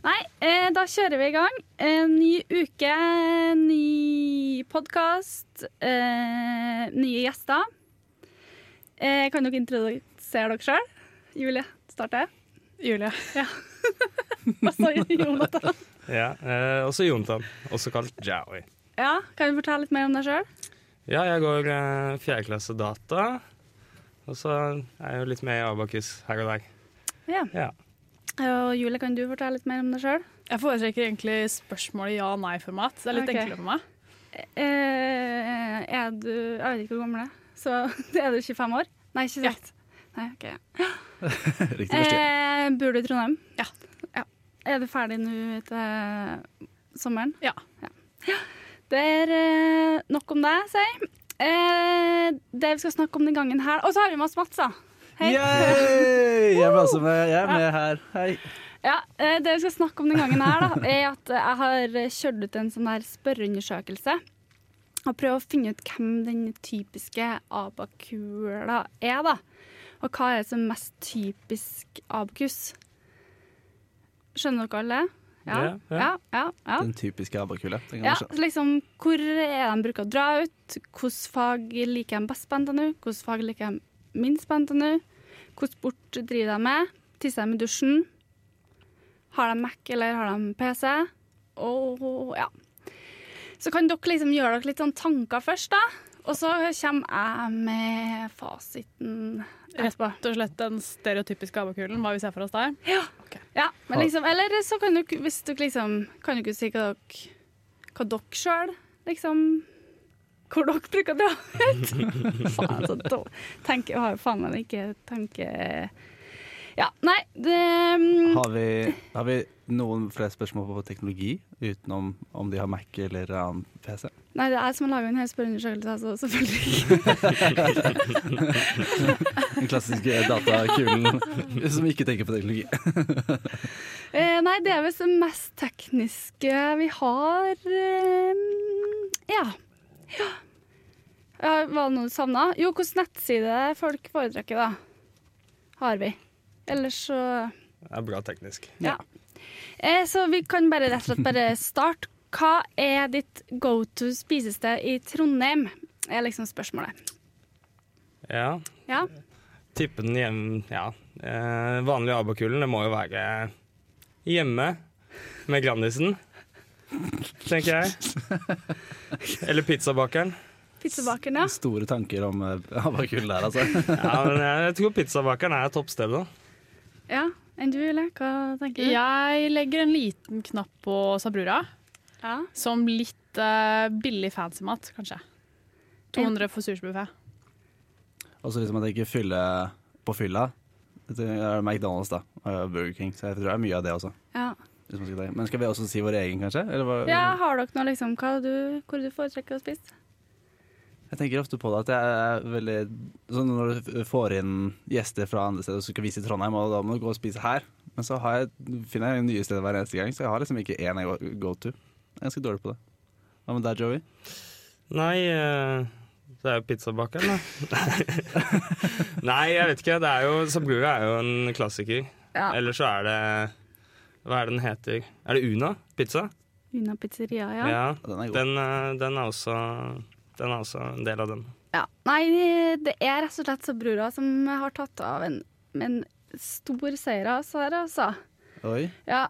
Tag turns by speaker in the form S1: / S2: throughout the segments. S1: Nei, eh, da kjører vi i gang. En ny uke, ny podkast, eh, nye gjester. Eh, kan dere introdusere dere sjøl? Julie, starter jeg.
S2: Julie.
S1: Hva står i Jonathan?
S3: Ja, eh, også Jonathan, også kalt Jowie.
S1: Ja, kan du fortelle litt mer om deg sjøl?
S3: Ja, jeg går eh, fjerdeklasse data, og så er jeg jo litt med i Abakus her og der.
S1: Ja.
S3: Ja.
S1: Og Julie, kan du fortelle litt mer om deg sjøl?
S2: Jeg foretrekker egentlig spørsmål i ja-nei-format. Det er litt
S1: Ok.
S2: enklere for meg.
S1: Eh, er du Jeg vet ikke hvor gammel jeg er, så er du 25 år? Nei, 26.
S2: Ja.
S1: Nei, ok.
S4: Riktig forstått.
S1: Eh, bor du i Trondheim?
S2: Ja.
S1: Ja. Er du ferdig nå til sommeren?
S2: Ja.
S1: Ja. Det er eh, nok om deg, sier jeg. Eh, det vi skal snakke om den gangen her Og så har vi med oss Mats, da. Hei.
S4: Yay! Jeg er også med, jeg er med her. Hei.
S1: Ja, eh, det vi skal snakke om den gangen her, da, er at jeg har kjørt ut en sånn her spørreundersøkelse. Og prøvd å finne ut hvem den typiske abakula er, da. Og hva er det som er mest typisk abakus? Skjønner dere alle det?
S3: Ja, ja.
S1: ja, ja, ja.
S4: Den typiske abakula. Den kan
S1: Ja,
S4: man skjønne.
S1: så liksom, hvor er de bruker å dra ut? Hvilke fag liker de best på NTNU? Hvilke fag liker de minst på NTNU? Hvilken sport driver de med? Tisser de i dusjen? Har de Mac eller har de PC? Og ja. Så kan dere liksom gjøre dere litt sånn tanker først, da. Og så kommer jeg med fasiten etterpå.
S2: Rett og slett den stereotypiske abakulen, hva vi ser for oss der.
S1: Ja, men liksom, eller så kan dere, hvis dere liksom, kan dere si hva dere, hva dere selv, liksom, hvor dere bruker å dra ut. faen, så da, tenker, jeg har jo faen meg ikke tanke... Ja, nei, det,
S4: Har vi, har vi noen flere spørsmål på teknologi, utenom om de har Mac eller annen PC?
S1: nei, det er jeg som har laget en hel spørreundersøkelse, altså, selvfølgelig ikke.
S4: Den klassiske datakulen som ikke tenker på teknologi.
S1: Eh, nei, det er visst det mest tekniske vi har. Eh, ja. Ja. ja. Var det noe du savna? Jo, hvilken nettside folk foretrekker, da, har vi. Ellers så
S3: Det er bra teknisk.
S1: Ja. Eh, så vi kan bare rett og slett bare starte. Hva er ditt go to spisested i Trondheim? er liksom spørsmålet.
S3: Ja,
S1: Ja.
S3: tippe den hjemme, ja. Eh, vanlig Abakulen, det må jo være hjemme med Grandisen, tenker jeg. Eller pizzabakeren.
S1: Pizzabakeren, ja.
S4: Store tanker om eh, abakul der, altså.
S3: Ja, men jeg, jeg tror pizzabakeren er toppstedet.
S1: ja. Enn du, eller? Hva tenker du?
S2: Jeg legger en liten knapp på Sabrura,
S1: ja.
S2: som litt eh, billig fancy mat, kanskje. 200 for sursbuffé.
S4: Og så hvis man tenker fylle på fylla, så er det McDonald's da, og Burger King. Så jeg tror det er mye av det også.
S1: ja.
S4: Hvis man skal tenke. Men skal vi også si vår egen, kanskje? Eller hva?
S1: Ja, har dere noe liksom hva du, Hvor du foretrekker å spise?
S4: Jeg tenker ofte på det at jeg er veldig sånn Når du får inn gjester fra andre steder som skal vise i Trondheim, og da må du gå og spise her. Men så har jeg, finner jeg nye steder hver eneste gang, så jeg har liksom ikke én jeg go- go to. Jeg er ganske dårlig på det. Hva med deg, Joey?
S3: Nei, eh, det er jo pizzabakeren, da. Nei, jeg vet ikke. Det er jo, Sabrura er jo en klassiker.
S1: Ja.
S3: Eller så er det Hva er det den heter? Er det Una pizza?
S1: Una pizzeria, ja. ja.
S4: Ja, Den er god.
S3: Den, eh, den er også Den er også en del av den.
S1: Nei, det er rett og slett så brura som har tatt av en, en stor seier av oss her, altså.
S4: Oi.
S1: Ja.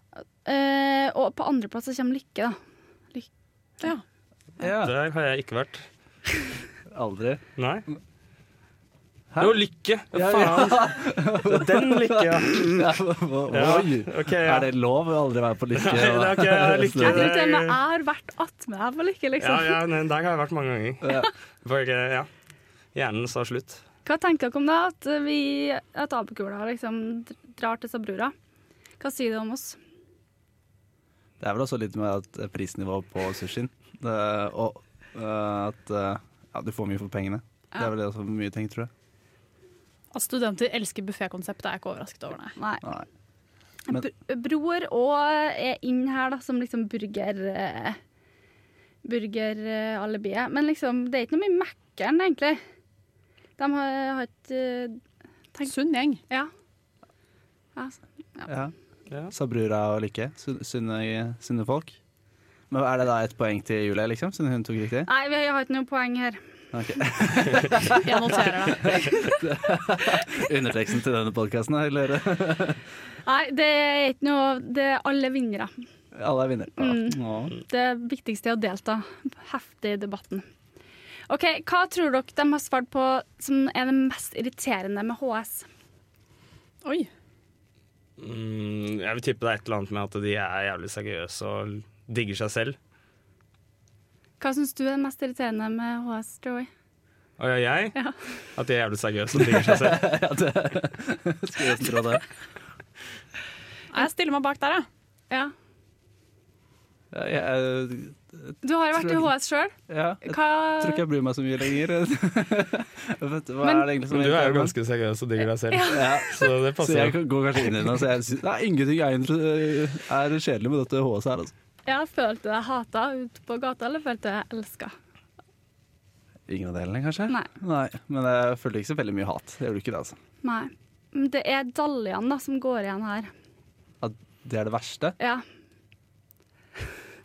S1: eh, og på andreplass så kommer Lykke, da.
S2: Ja.
S4: Ja.
S3: Der har jeg ikke vært.
S4: Aldri.
S3: Nei.
S4: Hæ?
S3: Jo, Lykke!
S4: Ja,
S3: Faen! Det er Den Lykke, ja.
S4: Ja, hva-
S3: ja.
S4: Oi!
S3: OK, ja.
S4: Er det lov å aldri være på lykke?
S3: Nei, det er ikke- jeg er lykke.
S1: Jeg
S3: Det
S1: tror
S3: er-
S1: til og med jeg har vært attmed deg på Lykke,
S3: ja,
S1: liksom.
S3: ja, nei, der har jeg vært mange
S4: Ja.
S3: ganger. For eh, ja. Hjernen sa slutt.
S1: Hva tenker dere om det, at vi at apekula liksom drar til Sabrura? Hva sier det om oss?
S4: Det er vel også litt med at eh, prisnivået på sushien det, og eh, at eh, ja, du får mye for pengene. Det er vel det også mye tenkt, tror jeg.
S2: At studenter elsker buffékonseptet, er jeg ikke overrasket over, nei.
S1: Nei.
S4: Nei.
S1: Br- Bror og er inn her da, som liksom eh, burger... eh, burgeralibiet. Men liksom, det er ikke noe mye Mækkern, egentlig. De har, har ikke eh, Tenk-
S2: Sunn gjeng.
S1: Ja. ja. s-
S4: Ja.
S3: Ja.
S4: Sabrura og Lykke. Sun- Sunne, sunne folk. Men Er det da et poeng til Julie, liksom, siden hun tok riktig?
S1: Nei, vi har ikke noe poeng her.
S4: Ok.
S2: Jeg noterer det.
S4: Underteksten til denne podkasten er eller?
S1: Nei, det er ikke noe Det er alle vinnere.
S4: Alle er vinner.
S1: Mm.
S4: Åh.
S1: Det viktigste er å delta heftig i debatten. OK, hva tror dere de har svart på som er det mest irriterende med HS?
S2: Oi.
S3: Mm, jeg vil tippe det er et eller annet med at de er jævlig seriøse og digger seg selv.
S1: Hva syns du er det mest irriterende med HS, Joey?
S3: Og jeg, at de er jævlig seriøse og digger seg selv.
S4: Ja, det skulle jeg nesten tro det.
S2: Jeg stiller meg bak der, jeg.
S1: Ja.
S4: Ja, jeg,
S1: Du har jo vært i
S4: Tror-
S1: HS sjøl.
S4: ja, jeg
S1: Hva
S4: tror ikke jeg bryr meg så mye lenger. Vet du, Hva
S1: Men-
S4: er det egentlig som
S3: Men du er jo
S4: irriterer meg?
S3: ganske seriøs og digger deg selv,
S4: ja.
S3: så det
S4: Så
S3: passer
S4: jeg
S3: jo.
S4: går kanskje inn i den og sier at ingenting er, eh, er kjedelig med dette HS her. Altså.
S1: ja, Følte du deg hata ute på gata, eller følte du deg elska?
S4: Ingen av delene, kanskje?
S1: Nei.
S4: Men jeg følte ikke så veldig mye hat. Jeg gjorde ikke det, altså.
S1: Nei. Men Det er Daljan da, som går igjen her.
S4: At det er det verste.
S1: Ja.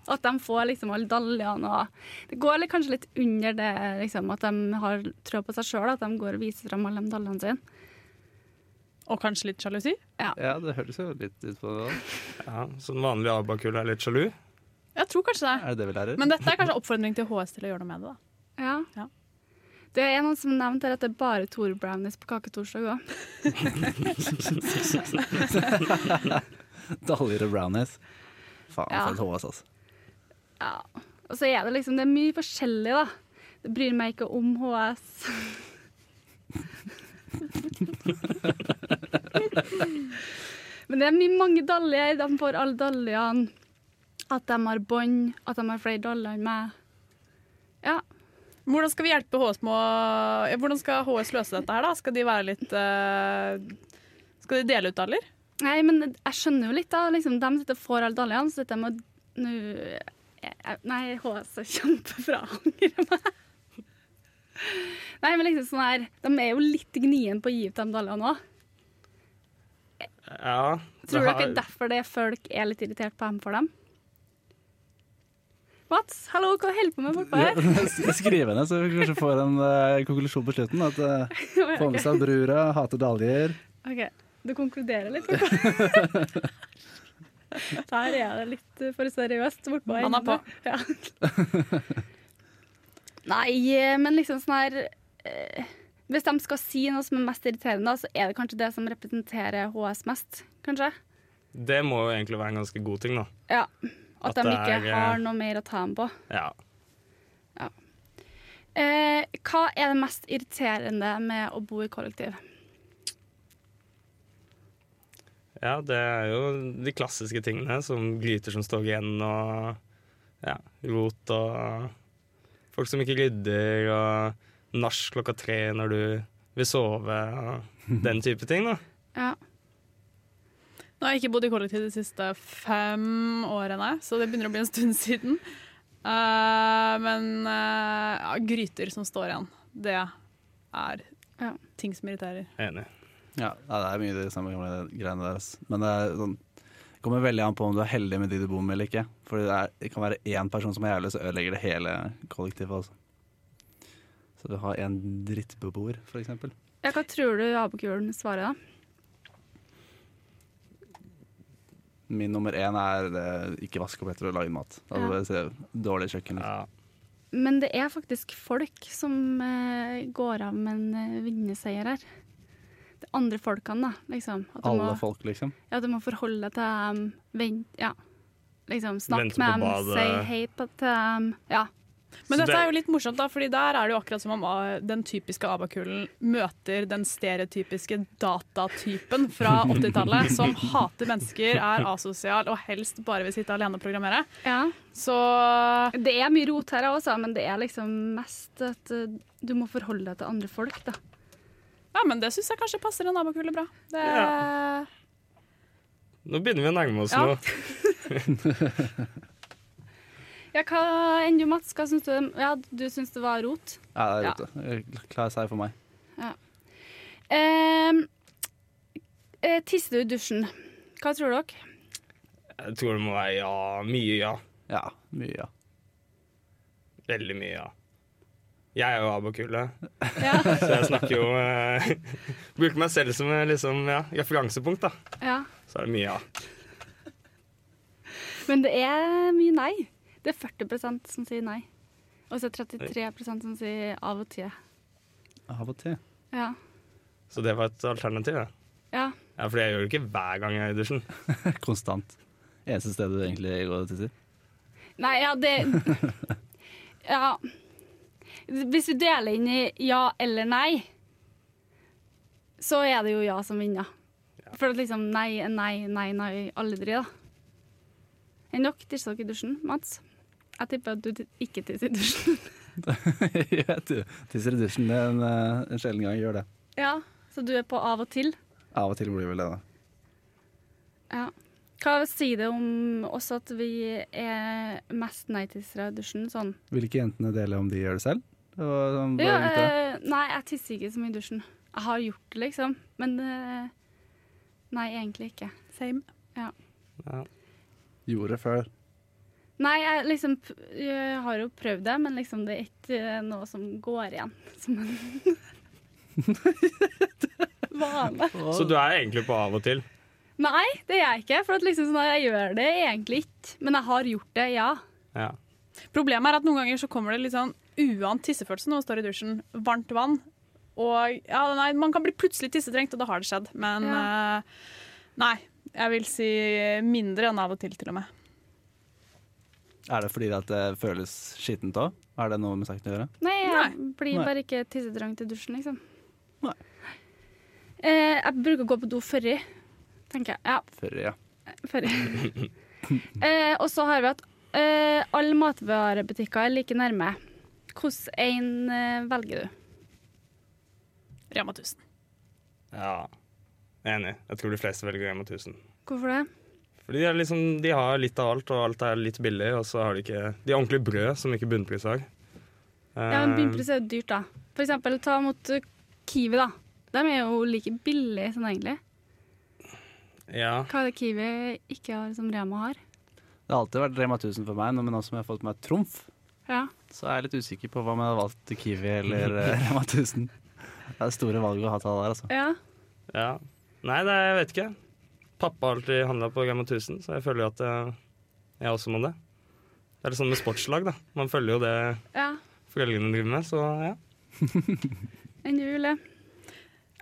S1: At de får liksom alle daljene og Det går litt, kanskje litt under det liksom, at de har trua på seg sjøl, at de går og viser fram alle de daljene sine.
S2: Og kanskje litt sjalusi.
S4: Ja, det høres jo litt ut på det. da.
S3: Ja, så den vanlige abakull er litt sjalu.
S2: Jeg tror kanskje det.
S4: Er det det vi lærer?
S2: Men dette er kanskje oppfordring til HS til å gjøre noe med det. da.
S1: Ja.
S2: Ja.
S1: Det er noen som nevnte her at det er bare Tore Brownies på kaketorsdag òg.
S4: Daljer og brownies. Faen
S1: Ja.
S4: for et HS, altså.
S1: Ja. Og så er det liksom Det er mye forskjellig, da. Det bryr meg ikke om HS. Men det er mye mange daljer. De får alle daljene. At de har bånd, at de har flere daljer enn meg. Ja.
S2: Hvordan skal vi hjelpe HS med å ja, Hvordan skal HS løse dette her, da? Skal de være litt eh, Skal de dele ut daler?
S1: Nei, men jeg skjønner jo litt, da. Liksom, de sitter og får alle daljene, så dette må nå jeg- jeg- Nei, HS er kjempebra. Angrer meg. Nei, men liksom sånn her De er jo litt gnien på å gi ut de daljene òg.
S3: Ja, det
S1: Tror
S3: har-
S1: dere derfor det folk er litt irritert på dem for dem? Mats, hallo, hva holder du på med bortpå
S4: Ja,
S1: her?
S4: Skriv henne, så vi kanskje får en eh, konklusjon på slutten. At uh, få med seg brura, hater daljer.
S1: OK, du konkluderer litt bortpå her. Der er det litt eh, for seriøst bortpå her.
S2: Han er på.
S1: Ja. Nei, eh, men liksom sånn her eh, Hvis de skal si noe som er mest irriterende, da, så er det kanskje det som representerer HS mest, kanskje?
S3: Det må jo egentlig være en ganske god ting, da.
S1: Ja.
S3: At
S1: At, de
S3: det
S1: ikke
S3: er, eh,
S1: har noe mer å ta dem på.
S3: Ja.
S1: Eh, hva er det mest irriterende med å bo i kollektiv?
S3: ja, det er jo de klassiske tingene som gryter som står igjen, og ja, rot og folk som ikke rydder, og nach klokka tre når du vil sove, og den type ting, da.
S1: Ja.
S2: Nå har jeg ikke bodd i kollektiv de siste fem årene, så det begynner å bli en stund siden. Eh, men eh, ja, gryter som står igjen, det er
S1: Ja.
S2: ting som irriterer.
S3: Enig.
S4: Ja, ja, det er mye de samme gamle greiene der. ass. Men det er sånn, det kommer veldig an på om du er heldig med de du bor med eller ikke. For det, er, det kan være én person som er jævlig, så ødelegger det hele kollektivet. Altså. Så du har en drittbeboer, for eksempel.
S1: Ja, hva tror du abekulen svarer, da?
S4: Min nummer én er eh, ikke vaske opp etter å lage mat.
S1: Ja.
S4: Altså, Dårlig kjøkken. Liksom.
S3: Ja.
S1: Men det er faktisk folk som eh, går av med en eh, vinnerseier her. Det er andre folkene, da. Liksom. At du,
S4: Alle
S1: må,
S4: folk, liksom.
S1: ja, du må forholde deg til dem, vent, ja. liksom,
S3: Vente
S1: snakke
S3: på
S1: med dem,
S3: badet.
S1: si hei på, til dem. Ja.
S2: Men
S3: Så
S2: dette
S3: det-
S2: er jo litt morsomt, da, fordi der er det jo akkurat som om ah, den typiske abakulen møter den stereotypiske datatypen fra 80-tallet, som hater mennesker, er asosial og helst bare vil sitte alene og programmere.
S1: ja.
S2: Så
S1: Det er mye rot her også, men det er liksom mest at eh, du må forholde deg til andre folk, da.
S2: ja, men det syns jeg kanskje passer en abakule bra. Det,
S3: Nå begynner vi å nærme oss
S2: Ja.
S3: noe.
S1: Ja, hva enn du, Mats? Hva syns du? Ja, du syns det var rot?
S4: Ja, det er rotet. Klar seier for meg.
S1: Ehm, eh, tisser du i dusjen? Hva tror dere?
S3: Jeg tror det må være ja. Mye ja.
S4: Ja, mye ja.
S3: Veldig mye ja. Jeg er jo abakule,
S1: Ja,
S3: så jeg snakker jo eh, Bruker meg selv som eh, liksom, ja, referansepunkt, da.
S1: ja.
S3: Så er det mye ja.
S1: Men det er mye nei. Det er 40 som sier nei. Og så er det 33 som sier av og til.
S4: Av og til.
S1: Ja.
S3: Så det var et alternativ, ja.
S1: ja.
S3: ja fordi jeg gjør det ikke hver gang jeg er i dusjen.
S4: Konstant. Eneste stedet du egentlig går og tisser.
S1: Nei, ja, det Ja. Hvis vi deler inn i ja eller nei, så er det jo ja som vinner. For at liksom nei er nei, nei, nei aldri, da. Enn dere tisser dere i dusjen, Mats? Jeg tipper at du ti- ikke tisser i dusjen.
S4: Ja, du tisser i dusjen det er en, eh, en sjelden gang jeg gjør det.
S1: Ja, Så du er på av og til?
S4: Av og til blir det vel det, da.
S1: Ja. Hva sier det om oss at vi er mest nei-tissere i dusjen? Sånn.
S4: Vil ikke jentene dele om de gjør det selv? Og, sånn,
S1: Ja,
S4: bare gutta?
S1: eh, nei, jeg tisser ikke så mye i dusjen. Jeg har gjort det, liksom. Men eh, nei, egentlig ikke.
S2: Same.
S3: Ja.
S4: Gjorde før.
S1: Nei, jeg liksom p- jeg har jo prøvd det, men liksom det er ikke eh, noe som går igjen som en vane.
S3: Så du er egentlig på av og til.
S1: Nei, det er jeg ikke. For at liksom sånn, jeg gjør det egentlig ikke. Men jeg har gjort det, ja.
S3: Ja.
S2: Problemet er at noen ganger så kommer det litt sånn uant tissefølelse når man står i dusjen. Varmt vann. Og ja, nei, man kan bli plutselig tissetrengt, og da har det skjedd. Men eh, nei. Jeg vil si mindre enn av og til, til og med.
S4: Er det fordi at det føles skittent òg? Er det noe med saken å gjøre?
S1: Nei, jeg blir
S4: Nei.
S1: bare ikke tissetrangt i dusjen, liksom.
S4: Nei.
S1: Eh, jeg bruker å gå på do før i, tenker jeg. Ja,
S4: Før, ja.
S1: før i. eh, og så har vi at eh, alle matvarebutikker er like nærme. Hvordan en eh, velger du?
S2: Rema 1000.
S3: ja. Jeg er Enig. Jeg tror de fleste velger Rema 1000.
S1: Hvorfor det?
S3: Fordi de, er liksom, de har litt av alt, og alt er litt billig. Og så har de ikke De har ordentlig brød som ikke bunnpris har.
S1: Ja, men
S3: Eh,
S1: Bunnpris er jo dyrt, da. For eksempel ta mot eh, Kiwi, da. De er jo like billige sånn egentlig.
S3: Eh, ja.
S1: Hva er det Kiwi ikke har som Rema har?
S4: Det har alltid vært Rema 1000 for meg, nå- men nå som jeg har fått meg Trumf,
S1: Ja.
S4: så er jeg litt usikker på hva om jeg hadde valgt Kiwi eller eh, Rema 1000. Det er store valg å ha til alle der, altså.
S1: ja.
S3: ja. Nei, det er, jeg vet ikke. Pappa har alltid handla på Rema 1000, så jeg føler jo at eh, jeg også må det. Det er litt sånn med sportslag, da. Man følger jo det
S1: ja.
S3: foreldrene driver med, så ja.
S1: Enn du, Julie?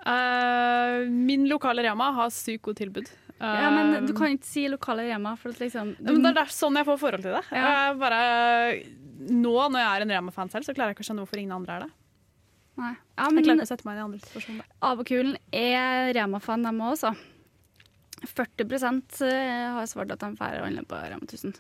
S2: Eh, min lokale Rema har sykt godt tilbud.
S1: Ja, men du
S2: Eh,
S1: kan ikke si lokale Rema, for at liksom
S2: Ja, Men det er der- sånn jeg får forhold til det.
S1: Ja.
S2: Jeg bare, nå når jeg er en Rema-fan selv, så klarer jeg ikke å skjønne hvorfor ingen andre er det.
S1: Nei. Ja,
S2: Jeg klarer
S1: men
S2: ikke å sette meg inn i andre situasjoner.
S1: Abakulen er Rema-fan, dem altså. òg, så. 40 eh, har svart at de drar og handler på Rema 1000.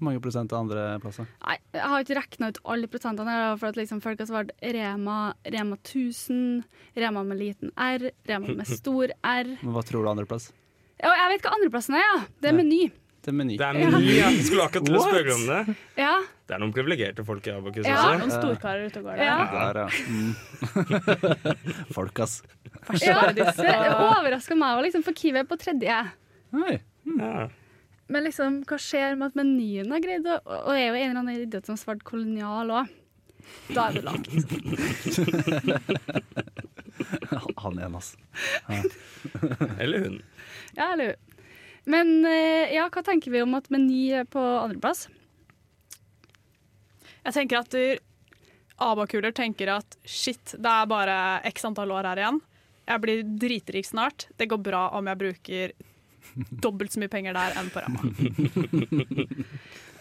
S4: Hvor mange prosent av andre plasser?
S1: Nei, jeg har ikke regna ut alle prosentene, her, da, for at liksom folk har svart Rema, Rema 1000, Rema med liten R, Rema med stor R.
S4: Men hva tror du andreplass?
S1: Og jeg vet hva andreplassen er, ja! Det er
S4: Nei.
S1: Meny.
S4: Det er Meny.
S3: Det er mye. Jeg skulle akkurat til å
S4: What?
S3: spørre om det.
S1: Ja.
S3: Det er noen privilegerte folk i Abakus
S1: Ja.
S2: Det er
S3: også.
S2: noen storkarer ute og går der.
S1: Ja.
S4: Der, ja. Mm. Folk, ass.
S1: ja. Det overraska meg òg, liksom, for Kiwi er på tredje.
S4: Oi.
S3: Ja.
S1: Men liksom, hva skjer med at menyen har greid å Og er jo en eller annen idiot som svarte kolonial òg. Da er det langt.
S4: Han igjen, ass.
S3: Eller hun.
S1: Ja, eller jo. Men eh, ja, hva tenker vi om at Meny er på andreplass?
S2: Jeg tenker at du- abakuler tenker at shit, det er bare x antall år her igjen. Jeg blir dritrik snart. Det går bra om jeg bruker dobbelt så mye penger der enn på Rema.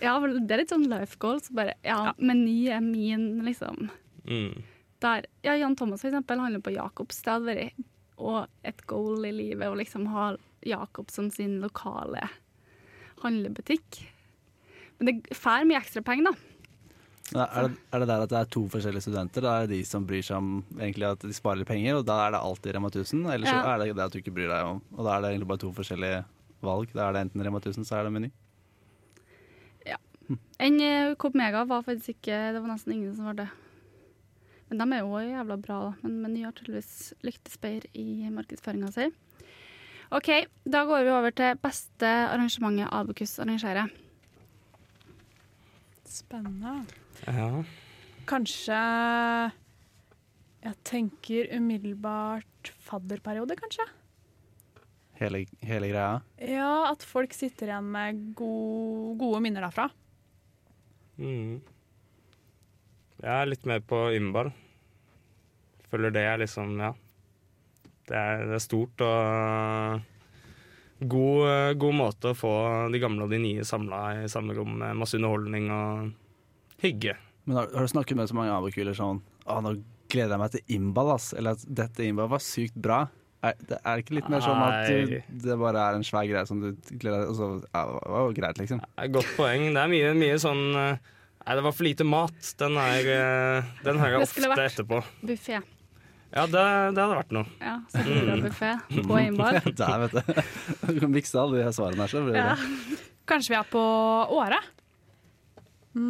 S1: Ja, vel, det er litt sånn life goals. Bare, ja,
S2: Ja.
S1: Meny er min, liksom.
S3: Mm.
S1: Der. Ja, Jan Thomas for eksempel handler på Jacobs. Det hadde vært og et goal i livet å liksom ha Jacobs som sin lokale handlebutikk. Men det får mye ekstra penger, da.
S4: Men Er det, er det der at det er to forskjellige studenter? Da er det de som bryr seg om egentlig at de sparer litt penger, og da er det alltid Rema 1000. Eller så
S1: Ja.
S4: er det det at du ikke bryr deg om. Og da er det egentlig bare to forskjellige valg. Da er det enten Rema 1000, så er det Meny.
S1: Enn eh, Coop Mega var faktisk ikke Det var nesten ingen som var det. Men de er jo også jævla bra, da. Men Meny har tydeligvis lyktespeier i markedsføringa si. OK, da går vi over til beste arrangementet Abekus arrangerer.
S2: Spennende.
S3: Ja.
S2: Kanskje Jeg tenker umiddelbart fadderperiode, kanskje?
S4: Hele, hele greia.
S2: Ja, at folk sitter igjen med go- gode minner derfra.
S3: Mm. Jeg er litt mer på Ymbal. Føler det er liksom Ja. Det er, det er stort og god, god måte å få de gamle og de nye samla i samme rom med masse underholdning og hygge.
S4: Men har, har du snakket med så mange abokuler sånn Å, nå gleder jeg meg til Imbal, ass. Eller at dette Imbal var sykt bra. Er det er det ikke litt mer sånn at du,
S3: Nei.
S4: det bare er en svær greie som du gleder deg altså, ja, Det var jo greit, liksom.
S3: Det er et Godt poeng. Det er mye, mye sånn eh, Nei, det var for lite mat. Den, er, eh, den hører jeg
S1: Det skulle
S3: ofte etterpå.
S1: Buffé.
S3: Ja, det, det hadde vært noe.
S1: Ja, så blir det buffé på Imbar.
S4: Der, vet du. Du kan mikse alle de her svarene her, så blir det
S2: Ja. Kanskje vi er på Åre?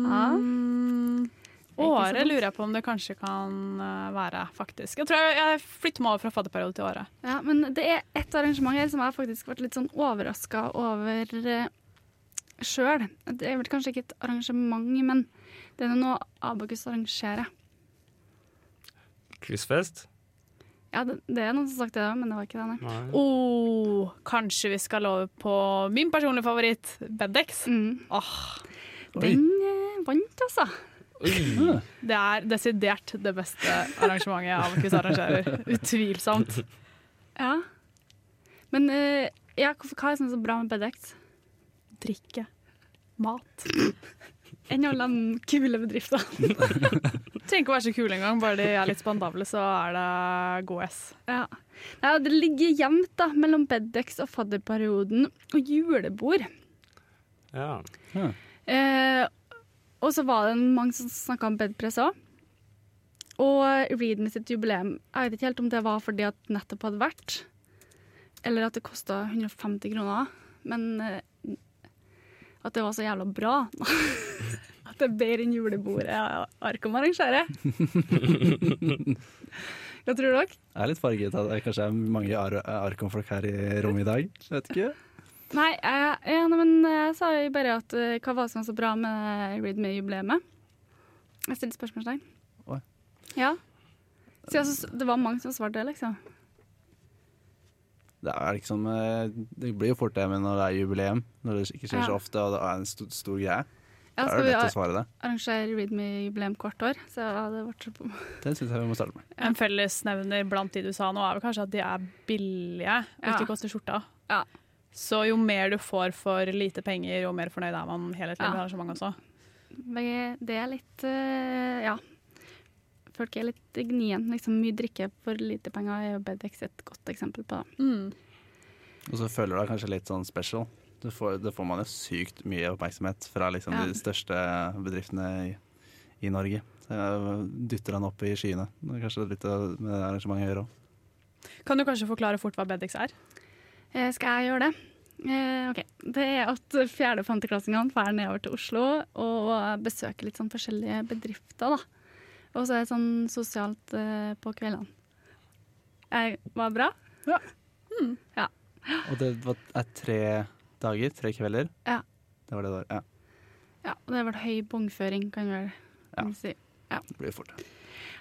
S2: Mm.
S1: ikke så
S2: Åre
S1: dumt.
S2: lurer jeg på om det kanskje kan eh, være, faktisk. Jeg tror jeg, jeg flytter meg over fra fadderperiode til Åre.
S1: Ja, men det er et arrangement her som jeg faktisk ble litt sånn overraska over uh, sjøl. Det er vel kanskje ikke et arrangement, men det er noe Abakus arrangerer.
S3: Kryssfest?
S1: Ja, det, det er noen som har sagt det, men det var ikke det, nei.
S3: Nei.
S2: Oh, kanskje vi skal over på min personlige favoritt, Bedex.
S1: Mm.
S2: Åh,
S4: Oi.
S1: Den eh, vant, altså.
S4: Ja.
S2: det er desidert det beste arrangementet Avakus arrangerer. Utvilsomt.
S1: Ja. Men eh, ja, hvorfor- hva er det som er så bra med Bedex?
S2: Drikke. Mat.
S1: Enn alle de kule bedriftene.
S2: Trenger ikke å være så kul engang, bare de er litt spandable, så er det god S.
S1: Ja. Nei, og det ligger jevnt da, mellom Bedex og fadderperioden og julebord.
S3: Ja.
S4: Ja.
S1: Eh, og så var det mange som snakka om bedpress òg. Og Reed med sitt jubileum. Jeg vet ikke helt om det var fordi at nettopp hadde vært, eller at det kosta 150 kroner, men eh, at det var så jævla bra. at det er bedre enn julebordet jeg- Arkom arrangerer. Hva tror dere?
S4: Jeg er litt farget av at det kanskje er mange ar Arkon-folk her i rommet i dag. Jeg Vet ikke.
S1: Nei, jeg, ja, nei, men eh, jeg sa jo bare at eh, hva var det som var så bra med Read Me-jubileet? Jeg stilte spørsmålstegn.
S4: Oi.
S1: Ja. Så jeg synes det var mange som svarte det, liksom.
S4: Det er liksom eh, Det blir jo fort det med når det er jubileum, når det ikke skjer
S1: Ja.
S4: så ofte og det er en stor, stor greie.
S1: Ja,
S4: Da
S1: skal
S4: er det
S1: vi
S4: lett å
S1: ar-
S4: svare det.
S1: arrangere Read Me-jubileum hvert år? Så ja, det ble så
S4: Det syns jeg vi må starte med.
S2: En fellesnevner blant de du sa nå, er vel kanskje at de er billige og
S1: Ja.
S2: ikke koster skjorta.
S1: Ja.
S2: Så jo mer du får for lite penger, jo mer fornøyd er man helhetlig
S1: Ja.
S2: med arrangementet også.
S1: Men Det er litt eh, Ja. Folk er litt gnien. Liksom, mye drikke for lite penger er jo Bedex et godt eksempel på. det.
S2: Mm.
S4: Og så føler du deg kanskje litt sånn special. Det får, det får man jo sykt mye oppmerksomhet fra liksom
S1: Ja.
S4: de største bedriftene i, i Norge. Så jeg dytter han opp i skyene. Det er kanskje litt av- med det arrangementet å gjøre òg.
S2: Kan du kanskje forklare fort hva Bedix er?
S1: Eh, skal jeg gjøre det? Eh, ok. Det er at fjerde- og femteklassingene drar nedover til Oslo og besøker litt sånn forskjellige bedrifter. da. Og så er det sånn sosialt eh, på kveldene. Jeg Eh, var bra?
S4: Og det var, er tre dager, tre kvelder.
S1: Ja.
S4: Det var det det var. Ja,
S1: Ja, og det har vært høy bongføring, kan vi vel
S4: Ja.
S1: si.
S4: det blir fort.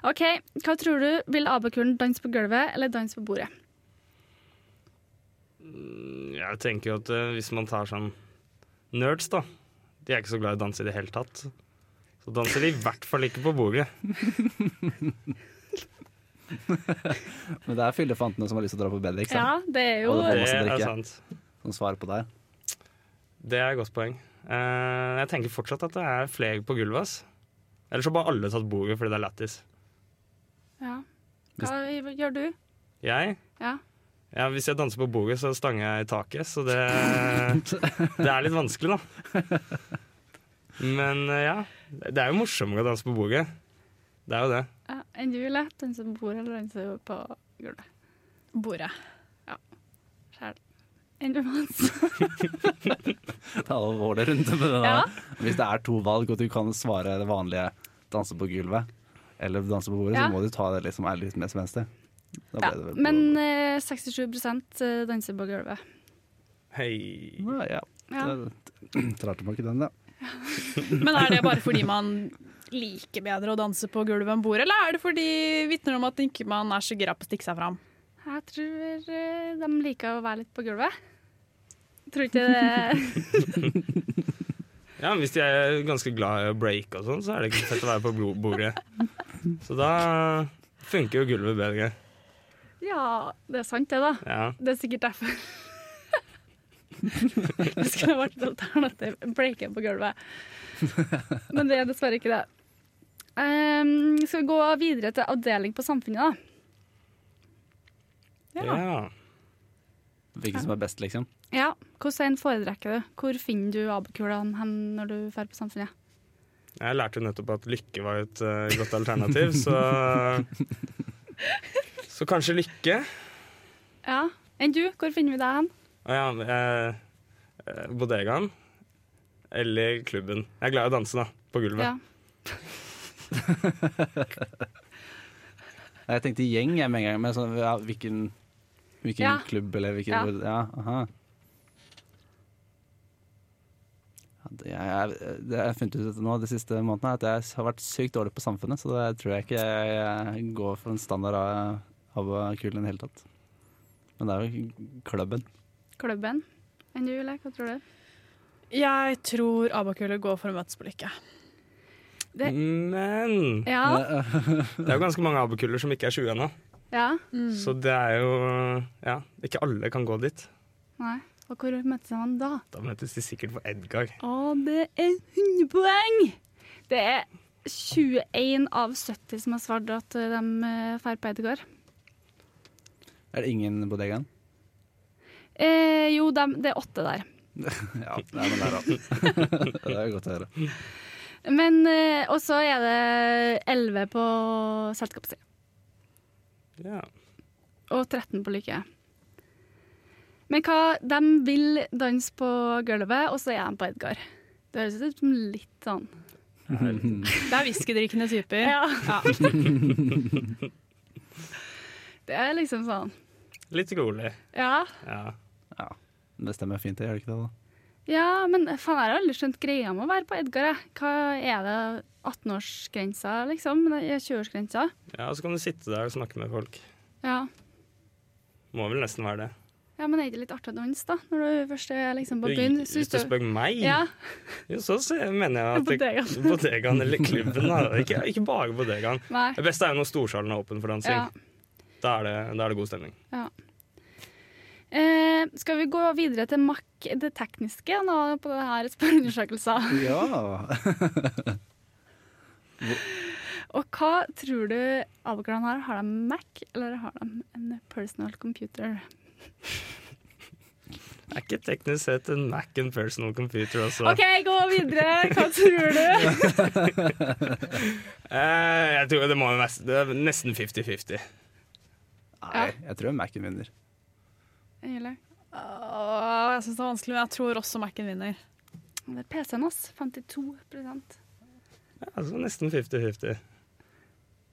S1: OK, hva tror du? Vil abakulen danse på gulvet eller danse på bordet?
S3: Jeg tenker jo at eh, hvis man tar sånn nerds, da De er ikke så glad i å danse i det hele tatt. Så danser de i hvert fall ikke på bordet.
S4: Men det er fyllefantene som har lyst til å dra på Bedrix. da.
S1: Ja, det er jo
S4: Og
S3: Det
S4: det masse
S3: er
S4: drikke.
S3: sant.
S4: Som svarer på deg.
S3: Det er et godt poeng. Eh, jeg tenker fortsatt at det er flere på gulvet. ass. Ellers har bare alle tatt bordet fordi det er lættis.
S1: ja. Hva gjør du?
S3: Jeg
S1: Ja.
S3: ja, Hvis jeg danser på bordet, så stanger jeg i taket, så det, det er litt vanskelig, da. Men eh, ja. Det er jo morsommere å danse på bordet. Det er jo det.
S1: ja. Enn du, Jule? Danse på bordet eller danse på gulvet?
S2: Bordet.
S1: Skjær. enn Romans.
S4: Det er alvorlig rundt med det. da.
S1: Ja.
S4: Hvis det er to valg, og du kan svare det vanlige 'danse på gulvet' eller 'danse på bordet',
S1: Ja.
S4: så må du ta det liksom er litt mest venstre. Da
S1: Ja,
S4: ble det vel på-
S1: men eh, 67 danser på gulvet.
S3: Hei.
S4: ja, ja.
S1: Ja.
S4: Da Trar tilbake den, da.
S2: Men er det bare fordi man liker bedre å danse på gulvet enn bordet, eller er det fordi vitner om at ikke man er så gira på å stikke seg fram?
S1: Jeg tror eh, de liker å være litt på gulvet. Tror ikke det
S3: Ja, men Hvis de er ganske glad i å break og sånn, så er det ikke fett å være på blo- bordet. Så da funker jo gulvet bedre.
S1: Ja, det er sant det, da.
S3: Ja.
S1: Det er sikkert derfor.
S2: Det skulle vært et alternativ. Breake på gulvet.
S1: Men det er dessverre ikke det. Ehm, skal vi gå videre til avdeling på samfunnet,
S3: ja.
S4: Hvilken som er best, liksom.
S1: da? Ja, Hvordan en foretrekker du? Hvor finner du abekulene hen når du drar på samfunnet?
S3: Jeg lærte jo nettopp at lykke var et eh, godt alternativ, så Så kanskje lykke.
S1: Ja, Enn du, hvor finner vi deg hen?
S3: Å ja, eh, eh, bodegaen eller klubben. Jeg er glad i å danse, da. På gulvet.
S1: Ja.
S4: Jeg tenkte gjeng jeg med en gang, men sånn, ja, hvilken, hvilken
S1: Ja.
S4: klubb eller hvilken
S1: Ja.
S4: ja. aha. Ja, det- Jeg, jeg, det jeg har funnet ut nå de siste månedene er at jeg har vært sykt dårlig på samfunnet, så det tror jeg ikke jeg, jeg går for en standard av, av kulen i det hele tatt. Men det er jo klubben.
S1: Klubben? Enn du, Lek? Hva tror du?
S2: Jeg tror Abakulet går for å møtes på lykke.
S1: Det-
S3: Men
S1: Ja.
S3: det er jo ganske mange abekuller som ikke er 20 ennå,
S1: ja.
S3: så det er jo Ja, ikke alle kan gå dit.
S1: Nei. Og hvor møttes han da?
S3: Da møtes de sikkert på Edgar.
S1: Å, det er 100 poeng! Det er 21 av 70 som har svart at de eh, drar på Edgar.
S4: Er det ingen bodegaen?
S1: Eh, jo, dem- det er åtte der.
S4: Ja, det er den der, da. det er godt å høre.
S1: Men eh, Og så er det 11 på selskapstid.
S3: Ja.
S1: Og 13 på lykke. Men hva De vil danse på gulvet, og så er de på Edgar. Det høres ut som litt sånn
S2: Det er whiskydrikkende typer.
S1: Ja.
S2: Ja.
S1: Det er liksom sånn
S3: Litt rolig.
S1: Ja.
S3: Ja.
S4: Ja, det stemmer fint, det gjør det ikke det? da?
S1: Ja, men faen, jeg har aldri skjønt greia med å være på Edgar, jeg. Hva er det 18-årsgrensa, liksom? Det er 20-årsgrensa?
S3: ja, og så kan du sitte der og snakke med folk.
S1: Ja.
S3: Må vel nesten være det.
S1: ja, men er det ikke litt artig å danse, da? Når du først er liksom på byen? Syns
S3: Hvis du
S1: du
S3: spør meg,
S1: Ja.
S3: jo, så ser- mener jeg at
S1: Bodegaen.
S3: bodegaen eller klubben da. Ikke, ikke bare bodegaen.
S1: Nei.
S3: Det beste er jo når storsalen er åpen for dansing.
S1: Ja.
S3: Da, er det, da er det god stemning.
S1: Eh, skal vi gå videre til mak det tekniske nå på det her spørreundersøkelser?
S4: Ja.
S1: Og hva tror du Abokan har? Har de Mac, eller har de en personal computer?
S3: Er ikke teknisk sett en Mac and personal computer også.
S1: OK, gå videre! Hva tror du?
S3: Eh, jeg tror det må jo nest- det er nesten 50-50.
S4: Nei, jeg tror Mac-en vinner.
S1: Eller?
S2: Åh, jeg syns det er vanskelig, men jeg tror også Mac-en vinner.
S1: Det er PC-en, ass. 52
S3: Ja, altså nesten 50-50.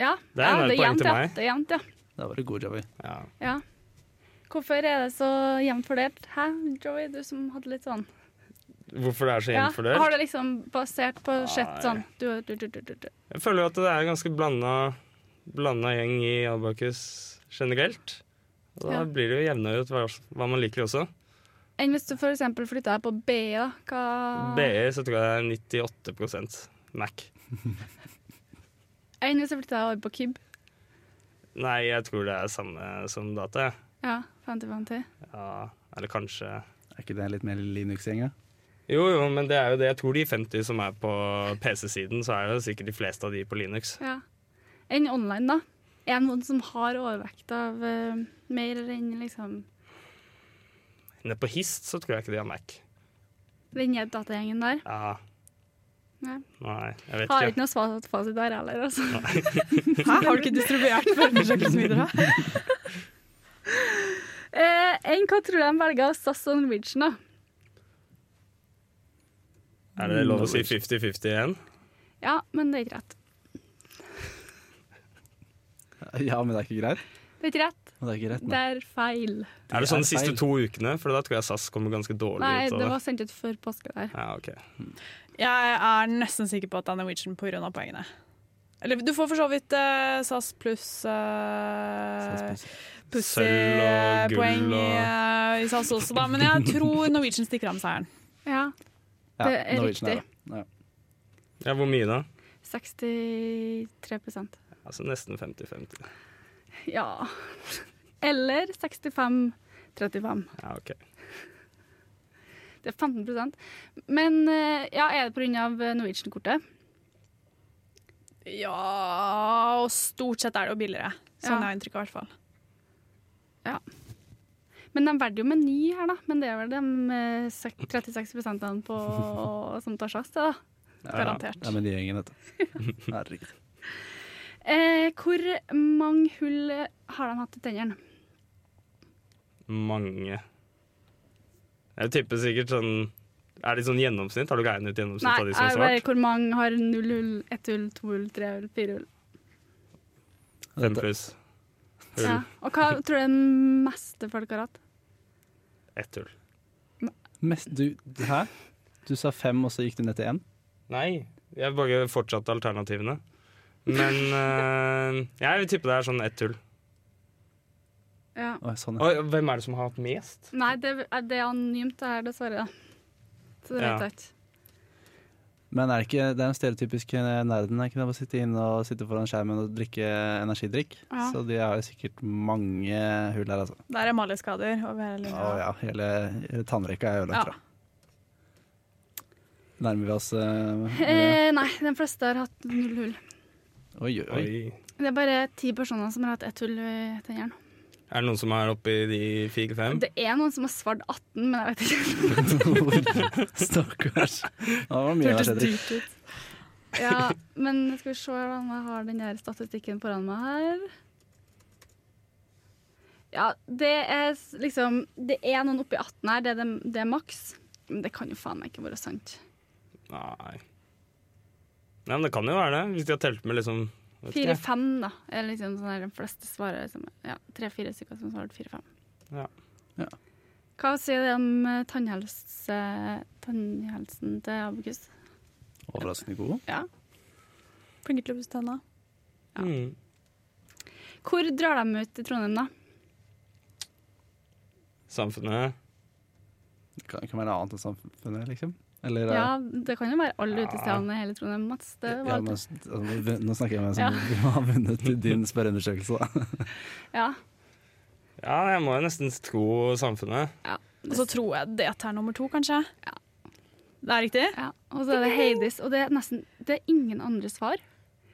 S1: Ja,
S3: Det er
S1: ja,
S3: en
S1: det er
S3: poeng
S1: jevnt,
S3: til
S1: ja.
S3: meg.
S1: Det er jevnt, ja.
S4: Da var det god jobb.
S3: Ja.
S1: ja. Hvorfor er det så jevnt fordelt? Hæ, Joey, du som hadde litt sånn
S3: Hvorfor det er så
S1: ja.
S3: jevnt fordelt?
S1: Har det liksom basert på sett
S3: Nei.
S1: sånn du, du, du, du, du, du.
S3: Jeg føler jo at det er en ganske blanda, blanda gjeng i Abakus generelt. Og da
S1: Ja.
S3: blir det jo jevnere ut hva, hva man liker også.
S1: Enn hvis du for eksempel flytta deg på B, da? Hva
S3: BI E, så tror jeg det er 98 Mac.
S1: Enn hvis du flytta deg over på KIB?
S3: Nei, jeg tror det er samme som data. jeg.
S1: Ja, 50-50.
S3: Ja, eller kanskje
S4: Er ikke det litt mer Linux-gjenga?
S3: Jo, jo, men det er jo det. Jeg tror de 50 som er på PC-siden, så er det jo sikkert de fleste av de på Linux.
S1: Ja. Enn online, da? Er det noen som har overvekt av eh, mer enn liksom
S3: Nede på Hist så tror jeg ikke de har Mac.
S1: den datagjengen der?
S3: Ja,
S1: Nei.
S3: nei, jeg vet
S1: Har
S3: ikke.
S1: ikke noe svar fasit der heller, altså.
S2: Hæ? Har du ikke distribuert spørreundersøkelsen videre?
S1: Eh, enn hva tror du de velger av SAS og Norwegian, da?
S3: Er det lov å si 50-50 igjen?
S1: Ja, men det er ikke rett.
S4: Ja, men det er ikke greit.
S1: Det er ikke rett.
S4: Men det er ikke rett
S1: Det
S4: nå.
S1: er feil.
S3: Er det sånn de siste
S4: feil.
S3: to ukene? For da tror jeg SAS kommer ganske dårlig
S1: Nei,
S3: ut av
S1: det
S3: det.
S1: var sendt ut før påske der.
S3: Ja, ok.
S2: Jeg er nesten sikker på at det er Norwegian pga. poengene. Eller du får for så vidt eh, SAS pluss eh,
S3: Sølv og gull
S2: pussypoeng i,
S3: og-
S2: eh, i SAS også, da. Men jeg tror Norwegian stikker av med seieren.
S1: Ja,
S4: Ja,
S1: det er
S4: Norwegian
S1: riktig.
S4: det. Ja.
S3: Ja, hvor mye da?
S1: 63
S3: Altså nesten 50-50.
S1: Ja. Eller 65-35.
S3: Ja, ok.
S1: Det er 15 Men eh, ja, er det pga. eh, Norwegian-kortet?
S2: Ja Og stort sett er det jo billigere. Sånn
S1: Ja.
S2: er inntrykket, i hvert fall.
S1: Men de valgte jo med 9 her, da. Men det er vel de eh, sek- 36 -ene på, som tar SAS, det, da.
S2: Garantert.
S4: Ja, men de gjengen, vet du. Herregud.
S1: Eh, hvor mange hull har de hatt i tennene?
S3: Mange. Jeg tipper sikkert sånn Er det sånn gjennomsnitt? Har du regnet ut gjennomsnitt
S1: Nei,
S3: av de som har
S1: jeg
S3: svart?
S1: vet hvor mange har null hull, ett hull, to hull, tre hull, fire hull.
S3: Fem pluss. Hull.
S1: Ja. Og hva tror du er den meste folk har hatt?
S3: Ett hull.
S4: Mest, du, hæ? Du sa fem, og så gikk du ned til én?
S3: Nei, jeg bare fortsatte alternativene. Men eh, jeg vil tippe det er sånn ett hull.
S1: Ja.
S4: Å, sånn, ja.
S3: Og hvem er det som har hatt mest?
S1: Nei, det er, det er anonymt det her, dessverre. da. Så det
S3: Ja.
S1: vet jeg ikke.
S4: Men er det ikke det er den stereotypiske nerden? Er ikke det å sitte inne og sitte foran skjermen og drikke energidrikk?
S1: Ja.
S4: Så de har jo sikkert mange hull her, altså.
S2: Der er Mali-skader over hele linja.
S4: Å ja, hele, hele tannrekka er jo
S2: Ja.
S4: langt fra. Nærmer vi oss eh,
S1: Eh, nei, de fleste har hatt null hull.
S4: Oi, oi, oi.
S3: Oi.
S1: Det er bare ti personer som har hatt ett hull i tennene.
S3: Er det noen som er oppe i de fire-fem?
S1: Det er noen som har svart 18, men jeg vet ikke.
S4: Stakkars. Det var mye
S2: Hørtes
S4: energidrikk.
S2: dyrt ut.
S1: Ja, men skal vi se om jeg har den der statistikken foran meg her. Ja, det er s- liksom Det er noen oppi 18 her, det er, dem- det er maks. Men det kan jo faen meg ikke være sant.
S3: Nei. Nei, men det kan jo være det, hvis de har telt med liksom vet ikke jeg.
S1: Fire-fem, da. Er liksom sånn her, de fleste svarer liksom, ja, tre-fire stykker som svarer fire-fem.
S3: Ja.
S4: Ja.
S1: Hva sier det om eh, tannhelse, tannhelsen til Abokus?
S4: Overraskende god.
S1: Ja.
S2: Flinke til å pusse tenna.
S1: Ja.
S3: Mm.
S1: Hvor drar de ut i Trondheim, da?
S3: Samfunnet
S4: Kan, kan være annet enn samfunnet, liksom. Eller, eh,
S1: Ja, Det kan jo være alle
S3: Ja.
S1: utestedene i hele Trondheim, Mats. Det
S4: ja,
S1: var
S4: men,
S1: ja,
S4: altså, vi- nå snakker jeg med en som har vunnet i din spørreundersøkelse. Da.
S1: ja.
S3: Ja, jeg må jo nesten tro samfunnet.
S2: Og så tror jeg det er nummer to, kanskje.
S1: Ja.
S2: Det er riktig?
S1: ja. Og så er det Heidis, og det er nesten det er ingen andre svar.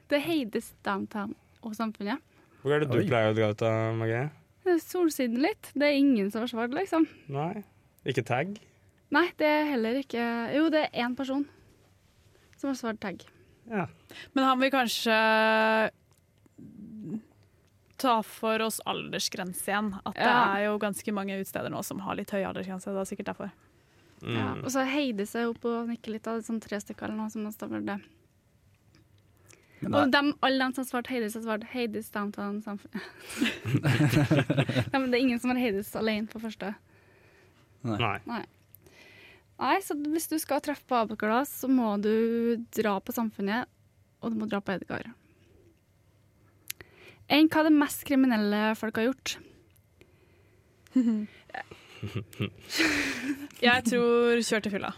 S1: Det er Heidis, Downtown og Samfunnet.
S3: Hvor er det du
S4: Oi.
S3: pleier å dra ut av Marie?
S1: Det er Solsiden litt. Det er ingen som har svart, liksom.
S3: Nei? Ikke tag?
S1: Nei, det er heller ikke Jo, det er én person som har svart tag.
S3: Ja.
S2: Men han vil kanskje ta for oss aldersgrense igjen. At det
S1: Ja.
S2: er jo ganske mange utsteder nå som har litt høy aldersgrense. Det er sikkert derfor.
S3: Mm.
S1: Ja. Og så heide seg opp og nikke litt, av sånn tre stykker eller noe som har svart det.
S4: Men
S1: Og
S4: det,
S1: dem, alle dem som har svart Heidis, har svart Heidis Downtown Samfunn. Nei, men det er ingen som har Heidis alene på første.
S3: Nei.
S1: Nei, så hvis du skal treffe på Abaker, da, så må du dra på Samfunnet, og du må dra på Edgar. Enn hva det mest kriminelle folk har gjort?
S2: Jeg tror kjør til fylla.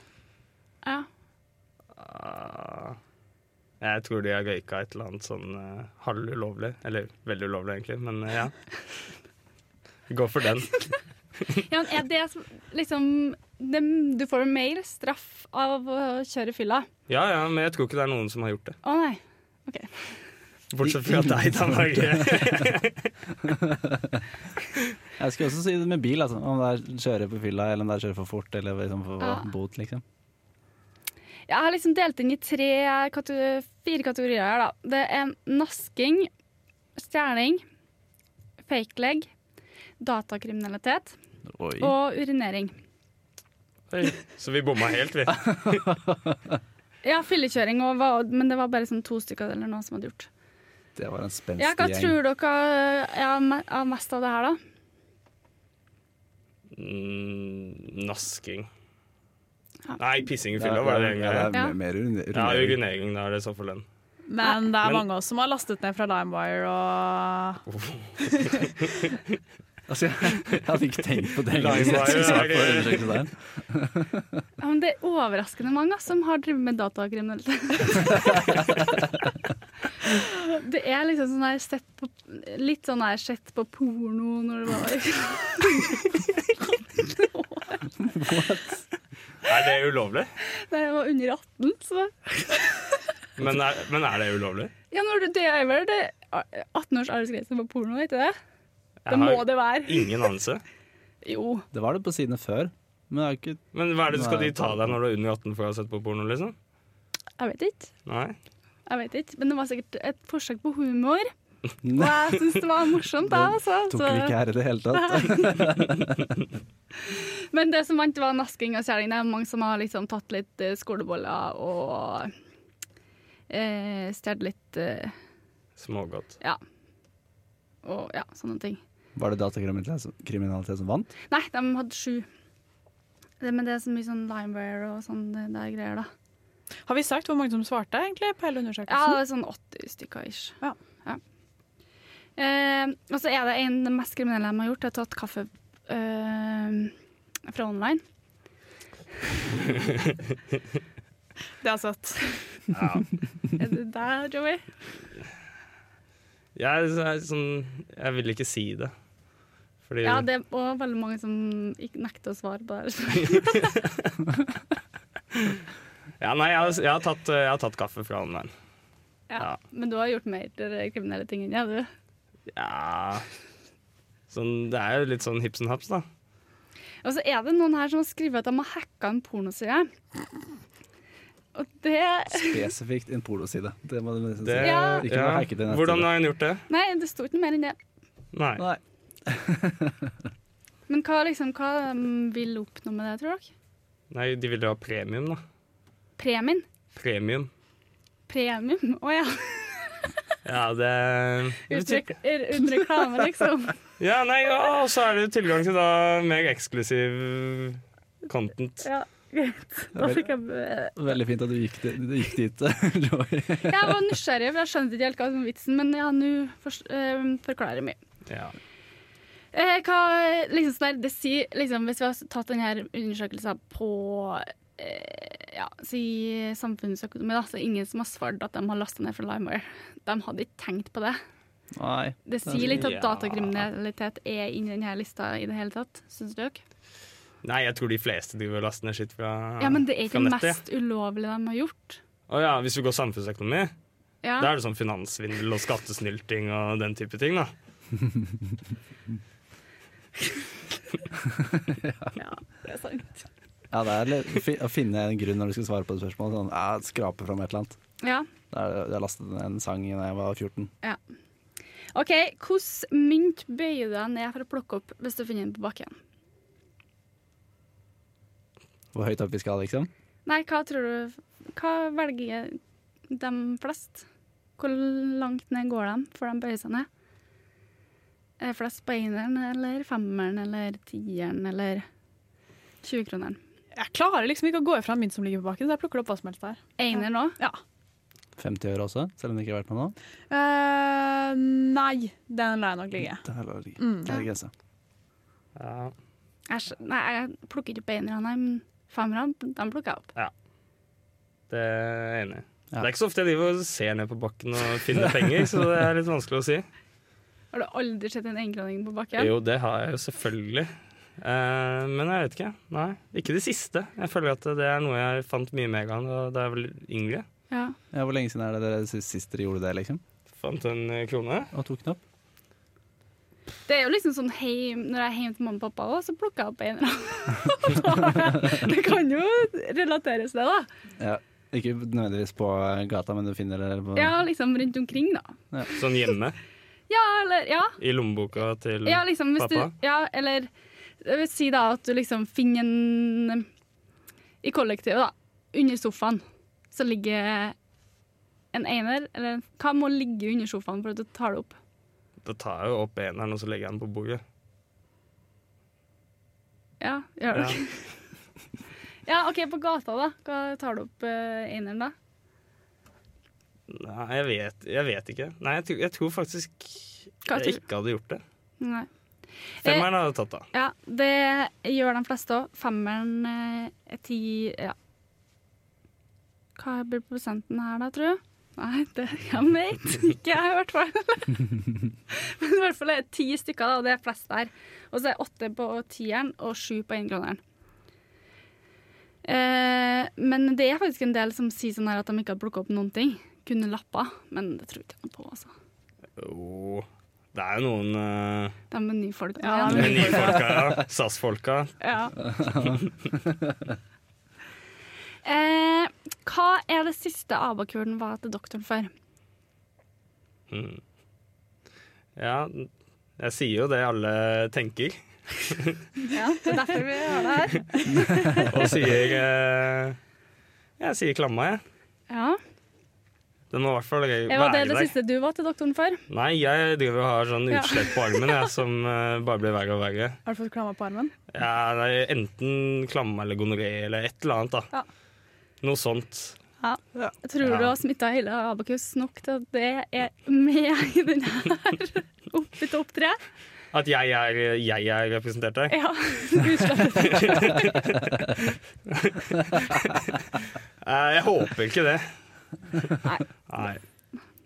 S1: Ja.
S3: Ah. Jeg tror de har røyka et eller annet sånn uh, halvulovlig. Eller veldig ulovlig, egentlig, men eh, ja. Gå for den.
S1: Ja, men er det som- liksom dem- Du får mer straff av å kjøre fylla.
S3: Ja ja, men jeg tror ikke det er noen som har gjort det.
S1: Å nei.
S3: Bortsett fra deg, da, Marie.
S4: jeg skulle også si det med bil, altså. om det er kjøre på fylla eller om det er kjøre for fort eller liksom for
S1: Ja.
S4: bot. liksom.
S1: Jeg har liksom delt inn i tre, kate- fire kategorier her, da. Det er nasking, stjeling, fake leg. datakriminalitet
S4: Oi.
S1: og urinering.
S3: Oi, Så vi bomma helt, vi.
S1: Ja, fyllekjøring, og hva- men det var bare sånn to stykker eller noe som hadde gjort.
S4: Det var en spenstig
S1: Ja, hva
S4: gjeng.
S1: tror dere er av me- av mest av det her, da?
S3: Mm, nasking.
S1: Ja.
S3: Nei, pissing i
S4: Det er-
S3: fylla var det
S4: ja,
S3: egentlig.
S4: det er
S1: Ja.
S4: mer urinering.
S3: Ja, urinering, da er det sånn for lønn.
S2: Men det er
S3: Men-
S2: mange av oss som har lastet ned fra LimeWire og
S4: Altså, jeg, jeg hadde ikke tenkt på det.
S3: Lime
S4: egentlig,
S3: wire,
S4: så jeg
S3: det
S4: får
S3: er-
S4: undersøkelse der.
S1: Ja, men det er overraskende mange ass, som har drevet med datakriminalitet. det er liksom sånn her sett på, litt sånn her sett på porno når du var
S3: Er det ulovlig?
S1: Da jeg var under 18, så
S3: Men er, men er det ulovlig?
S1: Ja, når du, det er vel det 18 års aldersgrense på porno, vet du det?
S3: Jeg
S1: Det må
S3: har
S1: det være.
S3: ingen anelse.
S1: Jo.
S4: Det var det på sidene før, men det er ikke
S3: Men hva er det skal
S4: Nei,
S3: de ta deg når du er under 18 for å ha sett på porno, liksom?
S1: Jeg vet ikke.
S3: Nei.
S1: Jeg vet ikke. Men det var sikkert et forsøk på humor, og
S4: Nei,
S1: jeg syns det var morsomt, da. Altså.
S4: tok vi ikke
S1: Så.
S4: her i det hele tatt.
S1: Men det som vant, var nasking og kjæling. Det er mange som har liksom tatt litt eh, skoleboller og eh, stjålet litt eh,
S3: Smågodt.
S1: Ja. Og ja, sånne ting.
S4: Var det datakriminalitet som- kriminalitet som vant?
S1: Nei, de hadde sju. Det, men det er så mye sånn limeware og sånn det der greier, da.
S2: Har vi sagt hvor mange som svarte egentlig på
S1: Ja,
S2: hele undersøkelsen?
S1: det er sånn 80 stykker ish.
S2: Ja.
S1: Eh, og så er det en av de mest kriminelle de har gjort, er tatt kaffe eh, fra online.
S2: Det er søtt.
S3: Ja.
S1: Er det der, Joey?
S3: Jeg, er sånn, jeg vil ikke si det. Fordi
S1: Ja, det er også veldig mange som ikke nekter å svare på det. her.
S3: Ja, nei, jeg, har- jeg, har tatt, jeg har tatt kaffe fra online.
S1: Ja.
S3: Ja.
S1: Men du har gjort mer eh, kriminelle ting enn jeg, du.
S3: Ja sånn, Det er jo litt sånn hips and haps, da.
S1: Og så er det noen her som har skrevet at de har hacka en pornoside. Og det
S4: Spesifikt en pornoside. Det må du nesten si.
S3: Det-
S1: Ja.
S4: Ikke noe hacket i nettside.
S3: Hvordan har hun gjort det?
S1: Nei, det sto ikke noe mer enn det.
S3: Nei.
S4: Nei.
S1: Men hva liksom, hva mm, vil oppnå med det, tror dere?
S3: nei, de ville ha premium, da.
S1: Premien?
S3: Premium.
S1: Premium? Å ja.
S3: Ja, det
S1: Utrek, under reklame, liksom.
S3: Ja, nei, ja, og så er det jo tilgang til da mer eksklusiv content.
S1: Ja, greit. Da fikk jeg
S4: Veldig fint at du gikk, di- du gikk dit, Joy.
S1: Jeg var nysgjerrig, for jeg skjønte ikke helt hva som var vitsen, men ja, nå fors- eh, forklarer jeg mye.
S3: Ja.
S1: Eh, hva, liksom, sånn der, det sier, liksom, hvis vi har tatt denne undersøkelsen på eh, ja, si samfunnsøkonomi, da, så er det ingen som har svart at de har lasta ned fra LimeWire. De hadde ikke tenkt på det.
S4: Nei.
S1: Det sier litt at
S3: Altså, Ja.
S1: datakriminalitet er inni denne lista i det hele tatt, syns dere?
S3: Nei, jeg tror de fleste driver og laster ned skitt fra
S1: Ja, men det er ikke
S3: fra
S1: det
S3: nettet, ja.
S1: mest ulovlige de har gjort.
S3: Å ja, hvis vi går samfunnsøkonomi,
S1: Ja.
S3: da er det sånn finanssvindel og skattesnylting og den type ting, da.
S1: Ja, det er sant.
S4: Ja, det er litt, fi- å finne en grunn når du skal svare på et spørsmål. Sånn, ja, skrape fram et eller annet.
S1: Ja.
S4: Da er det- Jeg lastet ned en sang da jeg var 14.
S1: OK, hvordan mynt bøyer du deg ned for å plukke opp hvis du finner den på bakken?
S4: Hvor høyt opp vi skal, liksom.
S1: Nei, hva tror du Hva velger de flest? Hvor langt ned går de før de bøyer seg ned? Er det flest på eneren eller femmeren eller tieren eller 20-kroneren?
S2: Jeg klarer liksom ikke å gå ifra en mynt som ligger på bakken, så jeg plukker opp hva som helst der.
S1: Einer nå?
S4: 50 øre også, selv om det ikke har vært med nå.
S2: Eh, nei, den lar jeg nok ligge.
S4: Det er lov.
S2: Mm.
S4: Det er grensa.
S3: Ja.
S1: Jeg, skj- nei, jeg plukker ikke opp enerne, nei, men femmerne, de plukker jeg opp.
S3: Det er jeg enig i.
S4: Ja.
S3: Det er ikke så ofte jeg driver og ser ned på bakken og finner penger, så det er litt vanskelig å si.
S1: Har du aldri sett en enkroning på bakken?
S3: Jo, det har jeg jo selvfølgelig. Eh, men jeg vet ikke. Nei, ikke det siste. Jeg føler at det er noe jeg fant mye mer av da- da jeg var yngre.
S1: Ja.
S4: Ja, hvor lenge siden er det dere sy- sist dere gjorde det, liksom?
S3: Fant en eh, krone.
S4: Og tok den opp?
S1: Det er jo liksom sånn heim, Når jeg er hjemme til mamma og pappa også, så plukker jeg opp en eller annen. det kan jo relateres til det, da.
S4: Ja. Ikke nødvendigvis på gata, men du finner det på
S1: Ja, liksom rundt omkring, da.
S3: Sånn hjemme.
S1: Ja, eller ja.
S3: I lommeboka til
S1: ja liksom, hvis
S3: pappa?
S1: Du, ja, eller jeg vil si da at du liksom finner en eh, I kollektivet, da. Under sofaen så ligger en einer, eller hva må ligge under sofaen for at du tar det opp?
S3: Da tar jeg jo opp eneren og så legger jeg den på bordet.
S1: Ja, gjør det.
S3: Ja.
S1: Ja, OK, på gata, da. Hva tar du opp eh, eneren, da?
S3: Nei, jeg vet, jeg vet ikke. Nei, jeg, tror- jeg tror faktisk
S1: Hva
S3: jeg
S1: tror du? Eh.
S3: ikke hadde gjort det.
S1: Nei.
S3: Femmeren hadde tatt av.
S1: Ja, det gjør de fleste òg. Femmeren, eh, ti Ja. Hva blir prosenten her, da, tror du? Nei, det jeg vet ikke jeg, i hvert fall. Men i hvert fall er det ti stykker, da, og det er flest der. Og så er det åtte på tieren og sju på enkroneren. Eh, men det er faktisk en del som sier sånn her at de ikke har plukka opp noen ting. Kunne lappa, men det tror jeg ikke noe på, altså.
S3: Jo, det er jo noen eh,
S1: De er nye folk. da.
S2: Ja,
S3: med nyfolka, ja. SAS-folka.
S1: Ja. eh, hva er det siste abakuren var til doktoren for?
S3: Mm. Ja, jeg sier jo det alle tenker,
S1: Ja, det er derfor vi har det her.
S3: og sier eh, Jeg sier klamma, jeg.
S1: Ja.
S3: Den må i hvert fall være
S1: Eh, Var det det
S3: der.
S1: siste du var til doktoren for?
S3: Nei, jeg driver og har sånn
S1: Ja.
S3: utslett på armen jeg, som eh, bare blir verre og verre.
S2: Har du fått klamma på armen?
S3: Ja, det er enten klamme eller gonoré eller et eller annet.
S2: Ja.
S3: da. Noe sånt.
S1: Tror
S3: Ja.
S1: du har smitta hele abakus nok til at det er med i den her oppe i topp tre?
S3: At jeg er, jeg er representert der.
S1: Ja. Utslettet.
S3: Eh, Jeg håper ikke det.
S1: Nei.
S3: Nei.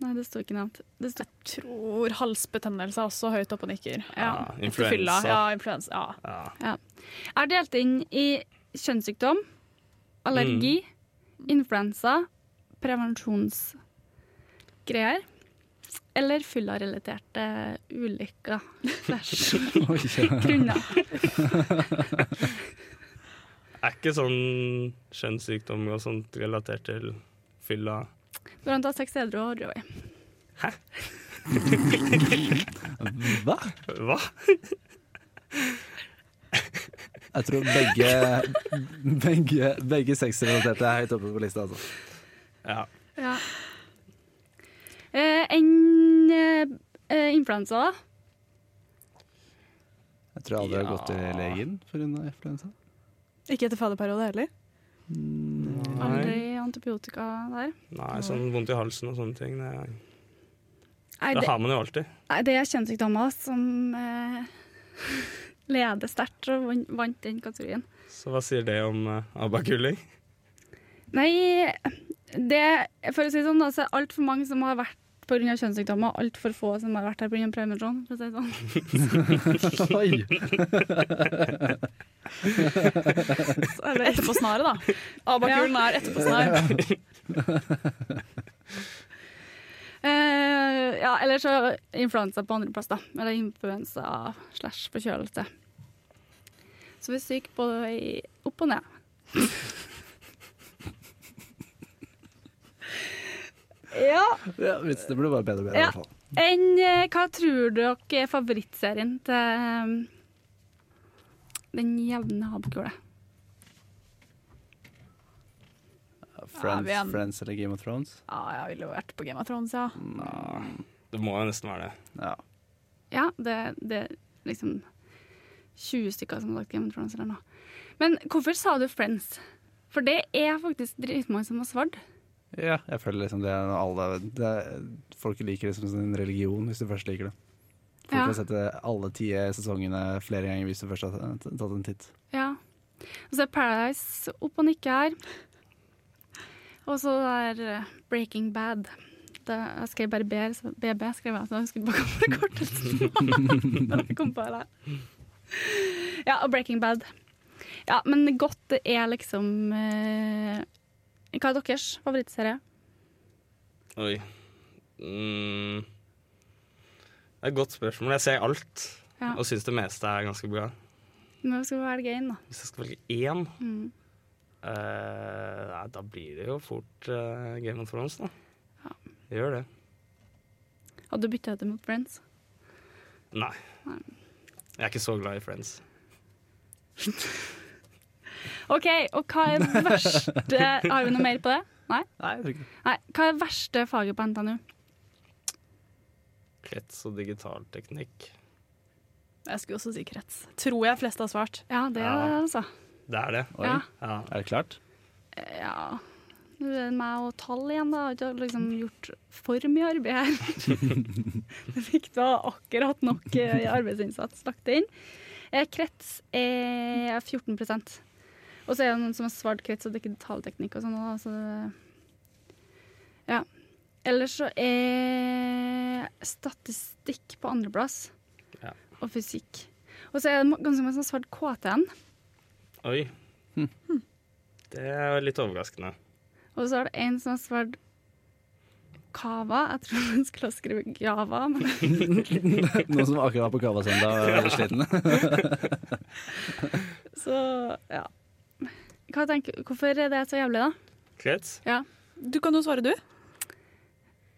S1: Nei, det står ikke nevnt. Det står
S2: Tror halsbetennelse er også høyt oppe og nikker.
S1: ja.
S3: Ah,
S2: Etter fylla.
S3: influensa.
S2: Ja, influensa. Ja.
S3: Ja.
S1: Jeg har delt inn i kjønnssykdom, allergi, influensa, prevensjonsgreier eller fyllarelaterte ulykker. Slash
S4: Oi, ja.
S1: grunner.
S3: Er ikke sånn kjønnssykdom og sånt relatert til fylla
S1: Når han tar seks edru og rød vei.
S4: Hva?
S3: Hva?
S4: Jeg tror begge, begge, begge sexrelaterte er høyt oppe på lista. Altså.
S3: Ja.
S1: Ja. Eh, Enn eh, eh, influensa, da?
S4: Jeg tror jeg aldri har
S3: Ja.
S4: gått til legen pga. influensa.
S2: Ikke etter fadderperiode heller.
S1: Aldri
S3: Mm. Nei.
S1: antibiotika der.
S3: Nei, sånn vondt i halsen og sånne ting. Det,
S1: Nei,
S3: det
S1: det,
S3: har man jo alltid.
S1: nei, det er kjønnssykdommer som eh, leder sterkt og vant- vant den kategorien.
S3: Så hva sier det om eh, abakulling?
S1: Nei, det, for å si det sånn, da, så er det altfor mange som har vært pga. kjønnssykdommer, altfor få som har vært her pga. prevensjon. For å si det sånn.
S4: Oi!
S2: Etterpå snaret, da. Abakulen er etterpå snar.
S1: Eh, ja, eller så influensa på andreplass, da. Eller influensa slash forkjølelse. Så vi er syke både i opp og ned. ja.
S4: Ja, vits, det blir bare bedre og bedre. i
S1: Ja.
S4: hvert fall.
S1: Enn eh, hva tror dere er favorittserien til um, den jevne habekule?
S2: Ja,
S4: Friends,
S2: vi er-
S4: Friends eller Game of Thrones. Mm,
S2: Ja, jeg ville jo vært på Game of Thrones, ja.
S3: Det må jo nesten være det.
S4: Ja.
S1: Ja, det, det er liksom 20 stykker som har sagt Game of Thrones eller noe. Men hvorfor sa du Friends? For det er faktisk dritmange som har svart.
S4: ja, jeg føler liksom det er noe alle det er, Folk liker det som sin religion hvis du først liker det. Folk
S1: Ja.
S4: har sett det alle ti sesongene flere ganger hvis du først har t- tatt en titt.
S1: Ja. Og så er Paradise opp og nikke her. Og så er eh, Breaking Bad. Det, jeg skrev bare BR, så BB skrev jeg, så jeg husker ikke hva kortet var. Jeg kom på det. Ja, og Breaking Bad. Ja, men godt det er liksom eh, Hva er deres favorittserie?
S3: Oi. Mm. Det er et godt spørsmål. Jeg ser alt
S1: Ja.
S3: og syns det meste er ganske bra.
S1: Nå skal vi velge én, da.
S3: Hvis jeg skal velge én,
S1: Mm.
S3: eh, nei, da blir det jo fort eh, Game of Thrones, da.
S1: Ja.
S3: Det gjør det.
S1: Hadde du bytta ut det mot Friends?
S3: Nei. Jeg er ikke så glad i Friends.
S1: OK, og hva er det verste Har vi noe mer på det? Nei?
S4: Nei, jeg tror ikke det.
S1: Nei. Hva er det verste faget på NTNU?
S3: Krets og digital teknikk.
S2: Jeg skulle også si krets. Tror jeg flest har svart.
S1: Ja, det er det,
S3: Ja.
S1: altså.
S3: Det er det.
S4: Oi.
S1: Ja.
S3: Ja.
S4: Er det klart?
S1: ja. Nå er det meg og tall igjen, da. Jeg har ikke liksom gjort for mye arbeid her. Jeg fikk da akkurat nok eh, arbeidsinnsats lagt inn. Eh, Krets er 14 Og så er det noen som har svart krets og digitalteknikk og sånn òg, så det- Ja. Ellers så er statistikk på andreplass.
S3: Ja.
S1: Og fysikk. Og så er det ganske mange som har svart KTN.
S3: Oi. Det er litt overraskende.
S1: Og så er det en som har svart Kava. Jeg tror han skulle ha skrevet Grava. Men
S4: Noen som akkurat var på Kavasøndag og er sliten.
S1: så, ja. Hva tenker, hvorfor er det så jævlig, da?
S3: Krets?
S1: Ja.
S2: Du kan jo svare, du.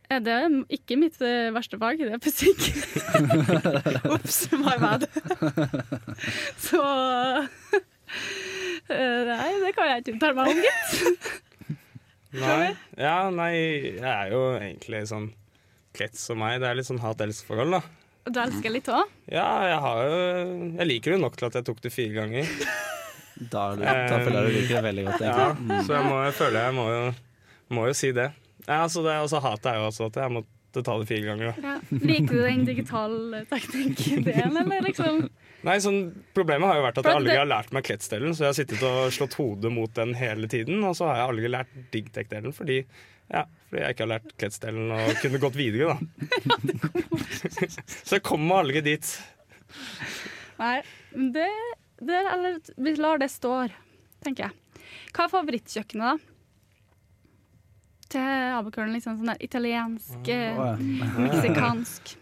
S1: Er det er ikke mitt eh, verste fag, det er fysikk.
S2: Ops, my bad.
S1: Så eh, Nei, det kan jeg ikke uttale meg om, gitt.
S3: Nei. Ja, nei, jeg er jo egentlig sånn Krets og meg. Det er litt sånn hat-elsk-forhold, da.
S1: Du elsker litt òg?
S3: Ja, jeg har jo Jeg liker det nok til at jeg tok det fire ganger.
S4: Da, er du- da føler jeg du liker det veldig godt,
S3: Eh, Ja,
S4: egentlig. Mm.
S3: så jeg må, jeg føler jeg må jo, må jo si det. Ja, altså det er også hatet er jo også at jeg måtte ta det fire ganger. da.
S1: Ja. Liker du den digitale teknikk-delen, eller liksom?
S3: Nei, sånn, Problemet har jo vært at jeg
S1: For det-
S3: aldri har lært meg kretsdelen, så jeg har sittet og slått hodet mot den hele tiden. Og så har jeg aldri lært digtech-delen fordi, ja, fordi jeg ikke har lært kretsdelen og kunne gått videre, da. så jeg kommer aldri dit.
S1: Nei, men det, det Eller vi lar det stå, tenker jeg. Hva er favorittkjøkkenet, da? Til abekølen, liksom sånn der italiensk, eh,
S4: Mm, Å, ja.
S1: meksikansk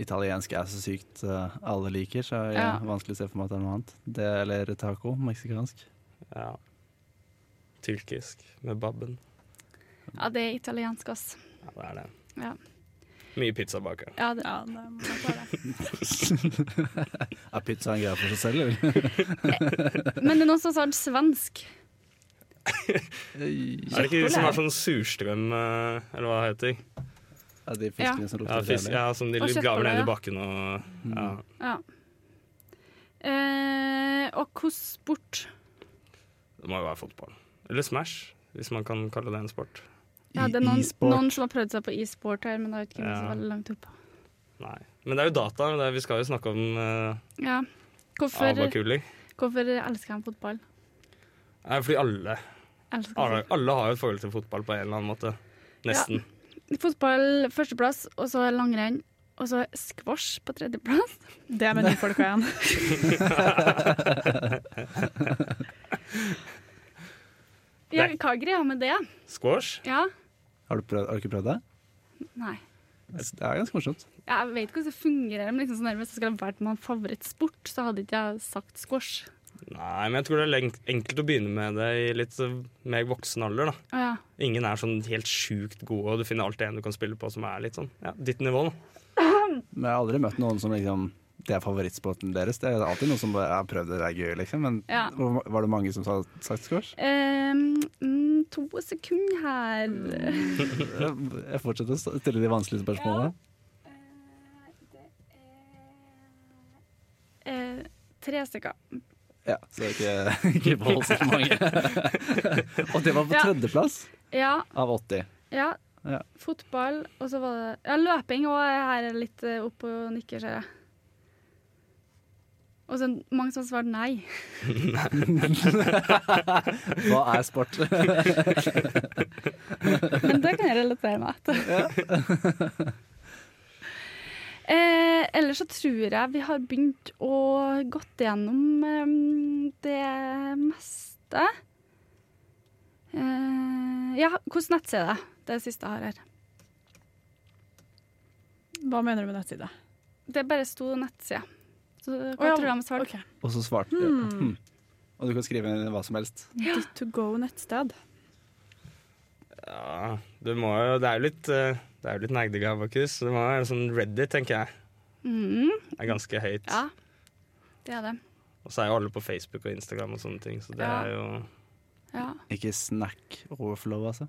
S4: Italiensk er så sykt eh, alle liker, så jeg
S1: Ja.
S4: vanskelig å se for meg at det er noe annet. Det, eller taco, meksikansk.
S3: Ja. Tyrkisk med babben.
S1: Ja, det er italiensk, ass.
S3: Ja, det er det.
S1: Ja.
S3: Mye pizza baker.
S1: Ja, det.
S2: Ja, det må jeg svare.
S4: Er pizza en greie for seg selv, eller?
S1: Men det er noen som har svart svensk.
S3: Er det ikke de som har sånn surstrøm, eh, eller hva det heter?
S4: Ja, de fiskene som
S3: Ja,
S4: lukter
S3: fisk,
S4: jævlig.
S3: ja, som de
S1: Og
S3: graver
S1: kjøttboller,
S3: ned
S1: ja.
S3: i bakken og
S4: Mm.
S3: ja.
S1: Ja. Eh, og hvordan sport?
S3: Det må jo være fotball. Eller Smash, hvis man kan kalle det en sport.
S1: Ja, det er noen,
S4: E-sport.
S1: noen som har prøvd seg på e-sport her, men det har ikke kommet så
S3: Ja.
S1: veldig langt opp.
S3: Nei. Men det er jo data. Det er, vi skal jo snakke om uh,
S1: Ja. Hvorfor,
S3: abakuler.
S1: hvorfor elsker han fotball?
S3: Nei, fordi alle,
S1: Elsker
S3: alle, alle har jo et forhold til fotball på en eller annen måte. Nesten.
S1: Fotball førsteplass, og så langrenn. Og så squash på tredjeplass.
S2: Det er menyfolka igjen.
S1: Ja, hva er greia med det?
S3: Squash.
S1: Ja?
S4: Har, du prøvd, har du ikke prøvd det?
S1: Nei.
S4: Det er ganske morsomt.
S1: Jeg vet ikke hvordan det fungerer, men liksom sånn der, hvis det skulle ha vært min favorittsport, så hadde ikke jeg sagt squash.
S3: Nei, men jeg tror det er lenk- enkelt å begynne med det i litt eh, mer voksen alder, da.
S1: Å ja.
S3: Ingen er sånn helt sjukt gode, og du finner alltid en du kan spille på som er litt sånn ja, ditt nivå, da.
S4: Men jeg har aldri møtt noen som liksom Det er favorittsporten deres. Det er alltid noen som bare har prøvd det, det er gøy, liksom. Men
S1: Ja.
S4: hvor- var det mange som sa sagt squash?
S1: Ehm, mm, to sekunder her.
S4: Jeg jeg fortsetter å stille de vanskelige spørsmålene.
S1: Eh, tre stykker.
S4: Ja, så det er ikke, ikke voldsomt mange. Og det var på
S1: Ja.
S4: tredjeplass
S1: Ja,
S4: av 80.
S1: ja.
S4: Ja.
S1: Fotball, og så var det Ja, løping òg her er litt eh, opp og nikker, ser jeg. Og så mange som har svart nei.
S4: Hva er sport?
S1: Men det kan jeg relatere meg til. eh, ellers så tror jeg vi har begynt å gått gjennom eh, det meste. Eh, ja, hvordan nettside er det? Det siste jeg har her.
S2: Hva mener du med nettside?
S1: Det bare sto nettside. Så hva
S2: Å ja,
S1: tror du de svarte?
S2: Ok.
S4: Og så svarte du. Hmm. Og du kan skrive inn hva som helst.
S2: Ditt to go-nettsted.
S3: Ja, det må jo Det er jo litt eh, Det er jo litt nerdig abakus, så det må være sånn Reddit, tenker jeg.
S1: Mhm,
S3: Det er ganske høyt.
S1: ja, det er det.
S3: Og så er jo alle på Facebook og Instagram og sånne ting, så det
S1: Ja.
S3: er jo
S1: Ja.
S4: Ikke snack overflow, altså.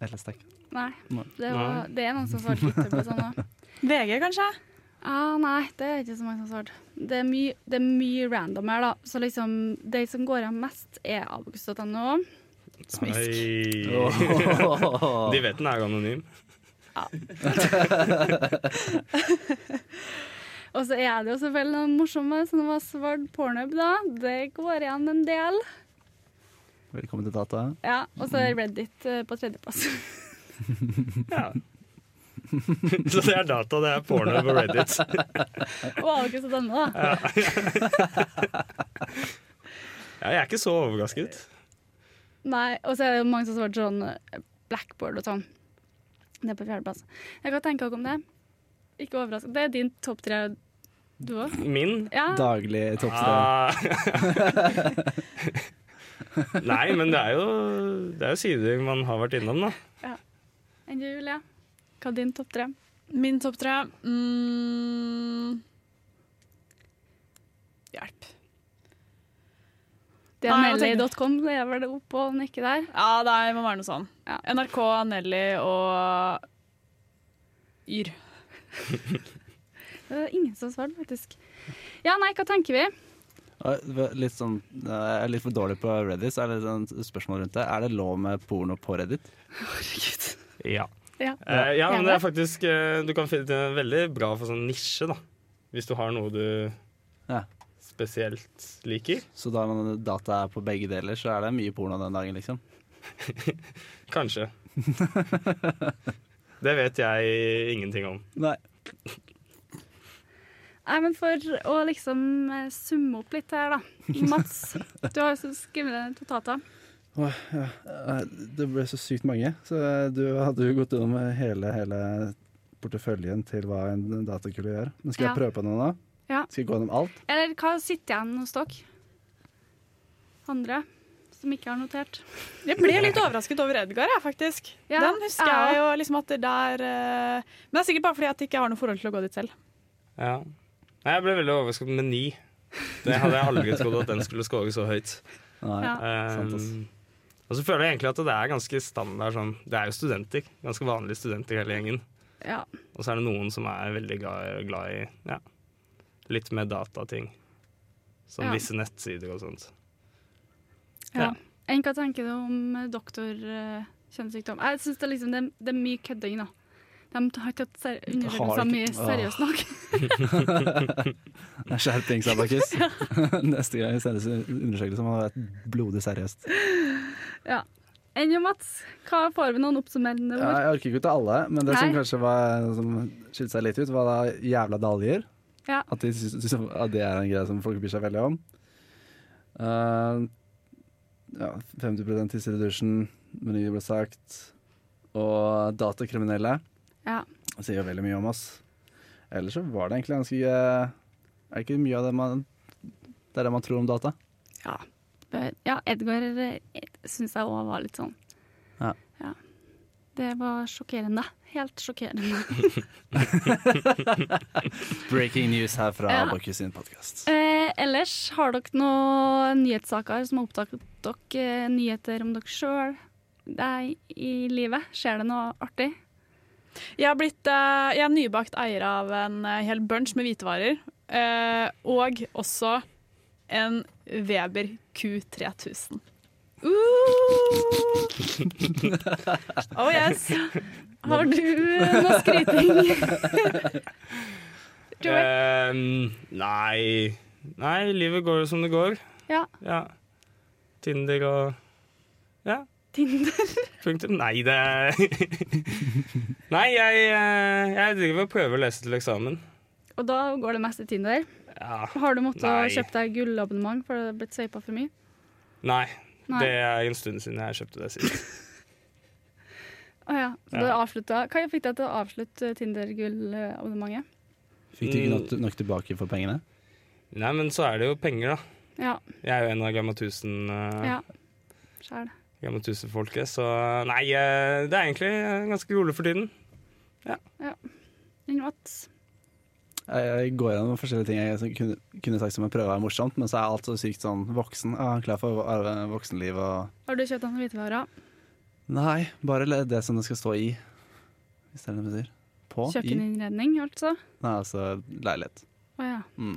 S4: Eller snack.
S1: Nei.
S4: Nei.
S1: Det, var, det er noen som svarte litt på sånn òg.
S2: VG, kanskje?
S1: Ah, nei, det er ikke så mange som svarte. Det er mye, det er mye random her, da. Så liksom, de som går an mest, er abokus.no.
S2: Smisk.
S3: Oi. De vet den er jo anonym.
S1: Og så er det jo selvfølgelig noen morsomme som var svart pornhub, da. Det går igjen en del.
S4: Velkommen til data.
S1: Ja, Og så er Reddit eh, på tredjeplass.
S3: Ja. så det er data, det er porno på Reddit.
S1: Og abokus.no, da.
S3: Ja, jeg er ikke så overrasket.
S1: Nei, og så er det jo mange som svarte sånn eh, Blackboard og sånn. Det er på fjerdeplass. Jeg kan tenke dere om det. Ikke overraskende. Det er din topp tre, du òg?
S3: Min
S1: Ja.
S4: Daglig toppsted.
S3: Ah. Nei, men det er, jo, det er jo sider man har vært innom, da.
S1: Enn du, Julie? Hva er din topp tre?
S2: Min topp tre mm. Hjelp. Nei, jeg tenker-
S1: Nelly.com, det er vel oppe og nikker der.
S2: Ja, det må være noe sånn.
S1: Ja.
S2: NRK, Nelly og Yr.
S1: Det er ingen som svarte, faktisk. Ja, nei, hva tenker vi?
S4: Og Litt sånn, jeg er litt for dårlig på Reddit, så er det litt sånn spørsmål rundt det. Er det lov med porno på Reddit?
S3: Ja.
S1: Ja.
S3: Eh, ja, men det
S1: Gjerne.
S3: er faktisk eh, Du kan finne det veldig bra for sånn nisje, da. Hvis du har noe du
S4: Ja.
S3: spesielt liker.
S4: Så da når data er på begge deler, så er det mye porno den dagen, liksom.
S3: Kanskje. Det vet jeg ingenting om.
S4: Nei.
S1: Nei, men for å liksom eh, summe opp litt her, da. Mats, du har jo så skrevet ned notater.
S5: Det ble så sykt mange, så du hadde jo gått gjennom hele, hele porteføljen til hva en datakule gjør. Men skal jeg
S1: Ja.
S5: prøve på noe nå?
S1: Ja.
S5: Skal jeg gå gjennom alt?
S1: Eller hva sitter igjen hos dere? Andre som ikke har notert.
S2: Jeg ble litt overrasket over Edgar, jeg, faktisk.
S1: Ja,
S2: Den husker
S1: ja.
S2: jeg jo liksom at det der eh, Men det er sikkert bare fordi at jeg ikke har noe forhold til å gå dit selv.
S3: Ja. Nei, jeg ble veldig overrasket med ni. Det hadde jeg aldri trodd at den skulle score så høyt.
S4: Nei.
S1: Ja.
S3: Um,
S4: Sant, ass.
S3: og så føler jeg egentlig at det er ganske standard sånn Det er jo studenter. Ganske vanlige studenter hele gjengen.
S1: Ja.
S3: Og så er det noen som er veldig glad, glad i ja, litt mer datating. Som
S1: Ja.
S3: visse nettsider og sånt.
S1: ja.
S3: Ja.
S1: Enn hva tenker du om eh, doktor eh, kjønnssykdom? Jeg syns det, er liksom, det, det er mye kødding, da. De har ikke tatt ser- undersøkelser mye
S4: ikke-
S1: seriøst nok.
S4: Det er Skjerpings, Abakus. Neste gang sendes undersøkelse må det være blodig seriøst.
S1: Enn jo, Mats? Hva får vi noen oppsummerende
S5: Ja,
S1: ord?
S5: jeg orker ikke ut av alle, men det som
S1: Nei.
S5: kanskje var, som skilte seg litt ut, var da jævla daljer.
S1: Ja.
S5: At, de syns- syns- at det er en greie som folk bryr seg veldig om. Eh, ja, 50 tisser i dusjen, meny ble sagt. Og datakriminelle
S1: Ja.
S5: sier jo veldig mye om oss. Ellers så var det egentlig ganske eh, Er det ikke mye av det man Det er det man tror om data?
S1: Ja, ja Edgar syns jeg òg var litt sånn.
S4: Ja.
S1: Det var sjokkerende. Helt sjokkerende.
S4: Breaking news her fra
S1: Ja.
S4: Abakus sin podkast.
S1: Eh, ellers, har dere noen nyhetssaker som har opptatt dere? eh, Nyheter om dere sjøl? Deg i livet? Skjer det noe artig?
S2: Jeg, har blitt, eh, jeg er nybakt eier av en eh, hel bunch med hvitevarer. eh, og også en Weber Q3000.
S1: Uh.
S2: Oh yes!
S1: Har du eh, noe skryting? Joey?
S3: Um, nei Nei, livet går jo som det går.
S1: Ja.
S3: Ja. Tinder og Ja.
S1: Tinder?
S3: Punktum. Nei, det Nei, jeg, eh, jeg driver og prøver å lese til eksamen.
S1: Og da går det mest i Tinder.
S3: Ja.
S1: Har du
S3: Nei.
S1: måttet kjøpe deg gullabonnement for det har blitt sveipa for mye?
S3: Nei,
S1: Nei.
S3: det er en stund siden jeg kjøpte det sist.
S1: Å ja. Så du avslutta Hva fikk deg til å avslutte Tinder-gullabonnementet?
S4: Fikk du ikke nok, nok tilbake for pengene?
S3: Nei, men så er det jo penger, da.
S1: Ja.
S3: Jeg er jo en av Gamma 1000. eh,
S1: ja. Skjær det.
S3: gamle tusenfolket. Så nei, eh, det er egentlig eh, ganske rolig for tiden.
S1: Den vats.
S4: Jeg jeg går gjennom forskjellige ting jeg som kunne, kunne sagt som jeg prøver å være morsomt, men så er alt så sykt sånn voksen. Ah, klar for arve- voksenliv og
S1: Har du kjøpt noen hvitevarer?
S4: Nei, bare le- det som det skal stå i. Hvis det er det du sier. På? I?
S1: Kjøkkeninnredning, altså?
S4: Nei, altså leilighet.
S1: Å ja.
S4: Mm.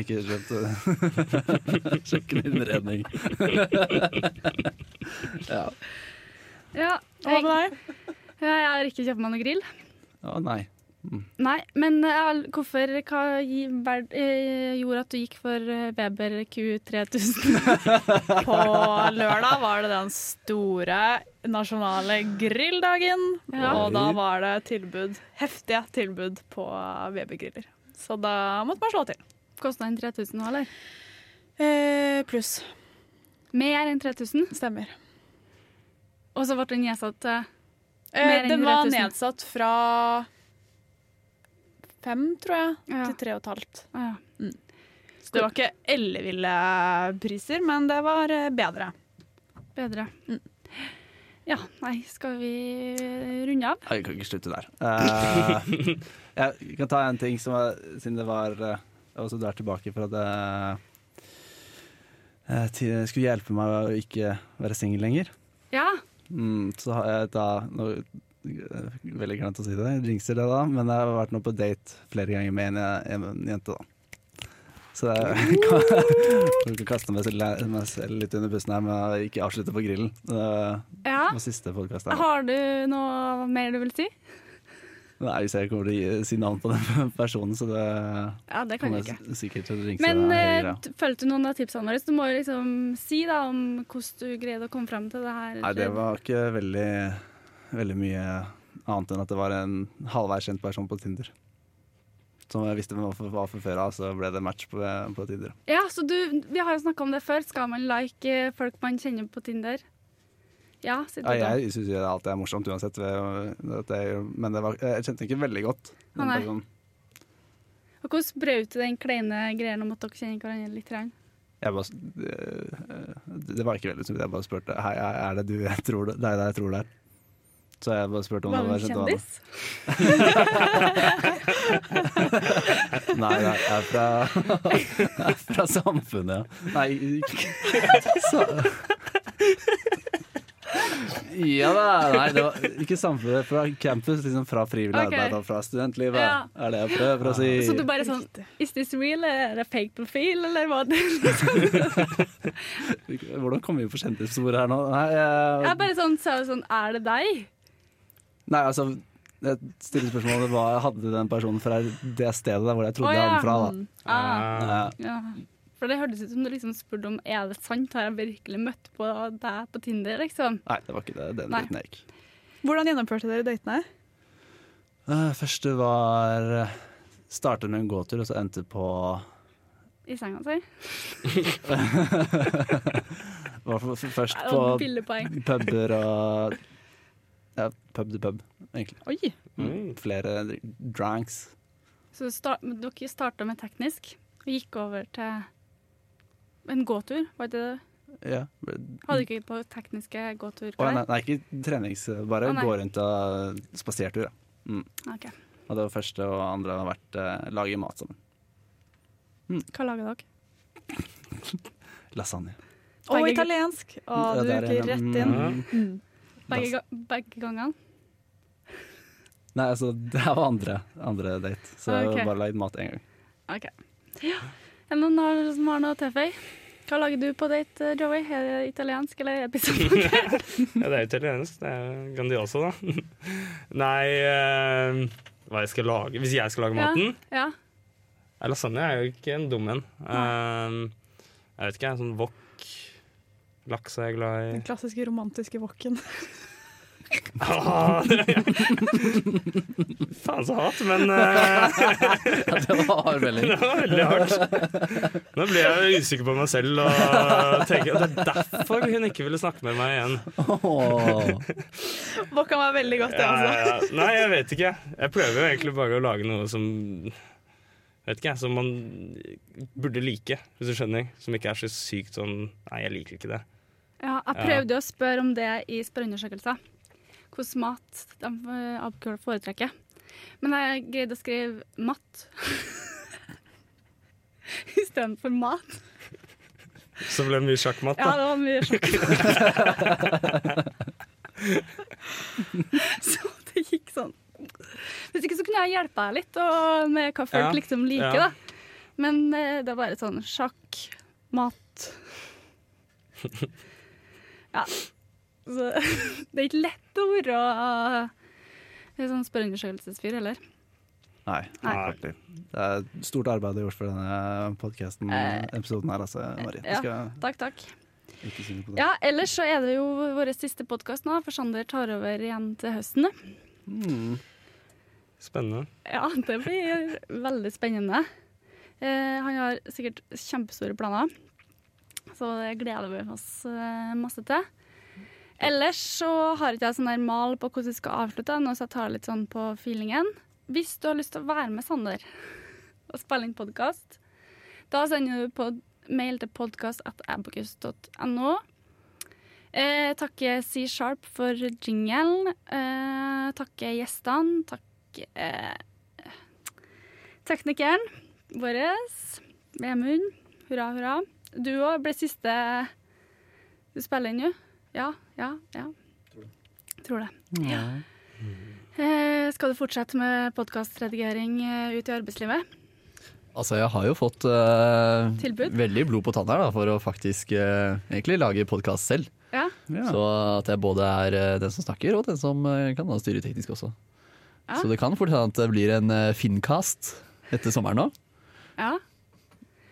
S4: Ikke skjønt Kjøkkeninnredning. ja.
S1: ja
S2: Hva
S1: jeg,
S2: med deg?
S1: jeg har ikke kjøpt meg noen grill.
S4: Å nei.
S1: Nei, men eh, al- hvorfor hva gi- verd- eh, gjorde at du gikk for eh, Weber Q3000?
S2: På lørdag var det den store nasjonale grilldagen.
S1: Ja.
S2: Og da var det tilbud, heftige tilbud på VB-griller. Så da måtte man slå til.
S1: Kosta den 3000 nå, eller?
S2: Eh, Pluss.
S1: Mer enn 3000.
S2: Stemmer.
S1: Og så ble den nedsatt til Mer
S2: Eh,
S1: enn
S2: den var
S1: 100 000.
S2: nedsatt fra fem, tror jeg,
S1: Ja.
S2: til tre og et halvt.
S1: Å ja.
S2: Så Mm. det var ikke elleville priser, men det var eh, bedre.
S1: Bedre.
S2: Mm.
S1: Ja, nei, skal vi runde av?
S4: Nei, Vi kan ikke slutte der. Eh, jeg kan ta en ting som var, siden det var eh, Også der tilbake for at eh, eh, til- det skulle hjelpe meg å ikke være singel lenger.
S1: Ja.
S4: Mm, så har jeg da nå, eh, Veldig glemt å si det, jeg jinxer det da, men jeg har vært nå på date flere ganger med en, en jente, da. Så jeg kan, jeg kan kaste meg selv, meg selv litt under bussen her med å ikke avslutte på grillen. Det
S1: ja.
S4: var siste podkast her.
S1: Har du noe mer du vil si?
S4: Nei, hvis jeg kommer til å gi- si navn på den personen, så det
S1: Ja, det kan
S4: kommer
S1: jeg ikke.
S4: jeg s- sikkert til å ringe
S1: Men
S4: seg
S1: eh,
S4: høyere.
S1: t- følte du noen av tipsene våre? Så Du må jo liksom si da om hvordan du greide å komme fram til det her.
S4: Nei, det var ikke veldig, veldig mye annet enn at det var en halvveis kjent person på Tinder. Som jeg visste var for- var fra før av, så ble det match på, på Tinder.
S1: Ja, så du, Vi har jo snakka om det før. Skal man like eh, folk man kjenner på Tinder? Ja, sier du
S4: Ja,
S1: da.
S4: jeg syns jo alt er morsomt uansett, ved- at jeg- men det var, jeg kjente ikke veldig godt.
S1: Å, nei.
S4: Sånn,
S1: Og hvordan brøt du den kleine greien om at dere kjenner hverandre litt? grann?
S4: Jeg bare, det, det var ikke veldig sunt. Jeg bare spurte Hei, er det du jeg tror det, det er deg jeg tror det er. Så jeg bare spurte om
S1: Var
S4: det
S1: du en
S4: var kjent. og han-
S1: kjendis?
S4: Nei, nei, jeg er fra, jeg er fra samfunnet, ja. Nei ikke- så. Ja da, nei, det var ikke samfunnet, fra campus, liksom fra frivillig
S1: Ok.
S4: arbeid og fra studentlivet,
S1: Ja.
S4: er det jeg prøver å
S1: Så du
S4: si.
S1: bare sånn Is this real? Er det fake profil, eller hva? det
S4: Hvordan kommer vi på kjendissporet her nå? Nei,
S1: Jeg
S4: jeg,
S1: bare sånn, sa jo sånn Er det deg?
S4: nei altså, jeg stiller spørsmålet hva hadde den personen fra det stedet der hvor jeg
S1: Å,
S4: trodde jeg hadde
S1: ja.
S4: den fra,
S2: mm.
S1: Ah,
S3: Eh,
S4: da.
S1: ja. For det hørtes ut som du liksom spurte om er det sant, har jeg virkelig møtt på deg på Tinder, liksom?
S4: Nei, det var ikke det, den
S1: Nei.
S4: biten jeg gikk.
S2: Hvordan gjennomførte dere datene?
S4: Eh, Første var eh, Startet med en gåtur, og så endte på
S1: I senga altså. si?
S4: hvert fall f- først
S1: Det
S4: på
S1: var billigpoeng.
S4: puber og ja, pub til pub, egentlig.
S2: Oi!
S3: Mm.
S4: Flere dr- dranks.
S1: Så du start, men dere starta med teknisk og gikk over til en gåtur, var ikke det?
S4: Ja.
S1: Hadde dere ikke på tekniske gåtur?
S4: Og nei, nei, ikke trenings, bare
S1: Å, nei.
S4: gå rundt og spasertur. Ja.
S1: Ok.
S4: Og det var første og andre har vært eh, lage mat sammen.
S1: Hva laga dere?
S4: Lasagne.
S2: Og
S1: Begge-
S2: italiensk. Og
S4: Ja,
S2: du
S4: der
S2: gikk
S4: igjen,
S2: rett inn.
S4: mm,
S1: Begge, ga- begge gangene?
S4: Nei, altså, det her var andre, andre date,
S2: Ah,
S4: så jeg
S1: Ok.
S4: har bare lagd mat én gang.
S1: OK. Ja. Er det noen har- som har noe å tilføye? Hva lager du på date, eh, Joey? Er det italiensk eller er det pizza?
S3: Ja, det er jo italiensk. Det er jo Grandiosa, da. Nei eh, Hva jeg skal lage Hvis jeg skal lage maten?
S1: Ja.
S3: Ja, Lasagne er jo ikke en dum en. Eh, jeg vet ikke, jeg. Sånn wok. Laks er jeg glad i.
S2: Den klassiske romantiske wokken.
S3: Ah, det er- Faen så hat, men eh,
S4: Ja, det var hard melding.
S3: det var veldig hardt. Nå ble jeg usikker på meg selv og tenker at det er derfor hun ikke ville snakke med meg igjen.
S4: Åh.
S2: Wokka var veldig godt, det,
S3: Ja, ja,
S2: altså.
S3: ja. Nei, jeg vet ikke. Jeg prøver jo egentlig bare å lage noe som Vet ikke, jeg, som man burde like, hvis du skjønner. Som ikke er så sykt sånn Nei, jeg liker ikke det.
S1: Ja, jeg prøvde å spørre om det i spørreundersøkelser. Hvordan mat de eh, abkuler foretrekker. Men jeg greide å skrive matt istedenfor mat.
S3: Så ble det mye sjakkmatt,
S1: Ja,
S3: da.
S1: det var mye sjokk. så det gikk sånn. Hvis ikke så kunne jeg hjelpe deg litt og med hva folk
S3: Ja,
S1: liksom liker,
S3: ja.
S1: da. Men eh, det er bare sånn sjakk, mat Ja. Så det er ikke lett å være eh, sånn spørreundersøkelsesfyr heller.
S5: Nei.
S1: Nei.
S5: artig. Det er et stort arbeid du har gjort for denne podkasten,
S1: Eh,
S5: episoden her, altså, Marie.
S1: ja.
S5: Jeg skal
S1: Takk, takk.
S5: ikke si noe på det.
S1: Ja, ellers så er det jo vår siste podkast nå, for Sander tar over igjen til høsten.
S5: Mm.
S3: Spennende.
S1: Ja, det blir veldig spennende. Eh, han har sikkert kjempestore planer, så det gleder vi oss eh, masse til. Ellers så har ikke jeg sånn der mal på hvordan vi skal avslutte, nå, så jeg tar det litt sånn på feelingen. Hvis du har lyst til å være med Sander og spille inn podkast, da sender du på mail til podkast.abokus.no. Eh, takke C Sharp for jingelen. Eh, takke gjestene. Takk eh, teknikeren vår, Vemund. Hurra, hurra. Du òg ble siste Du spiller inn, jo? Ja, ja, ja. Tror det. Ja. Eh, skal du fortsette med podkastredigering eh, ut i arbeidslivet?
S6: Altså, jeg har jo fått eh,
S1: Tilbud?
S6: veldig blod på tann her da, for å faktisk eh, egentlig lage podkast selv.
S1: Ja.
S5: Ja.
S6: Så at jeg både er eh, den som snakker, og den som eh, kan da styre teknisk også.
S1: Ja.
S6: Så det kan fort hende at det blir en eh, Fincast etter sommeren nå.
S1: ja.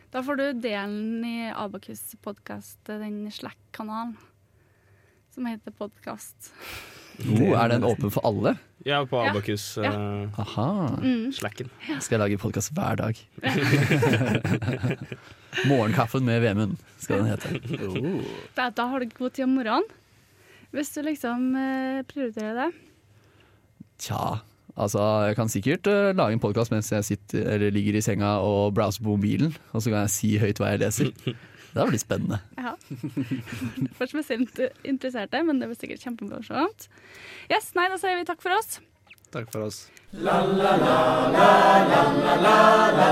S1: Da får du delen i Abakus podkast, den Slack-kanalen som heter Podkast.
S6: Oh, er den åpen for alle?
S3: Ja, på eh,
S1: Ja. Ja.
S3: Abakus-slacken.
S6: Aha.
S1: Mm.
S6: Skal jeg lage podkast hver dag. Morgenkaffen med Vemund, skal den hete.
S1: Da da har du god tid om morgenen, hvis du liksom eh, prioriterer det.
S6: Tja, altså jeg kan sikkert eh, lage en podkast mens jeg sitter, eller ligger i senga og browser på mobilen, og så kan jeg si høyt hva jeg leser. Det blir spennende.
S1: Ja. For spesielt interesserte, men det blir sikkert kjempemorsomt. Yes, nei, da sier vi takk for oss.
S5: Takk for oss.
S4: La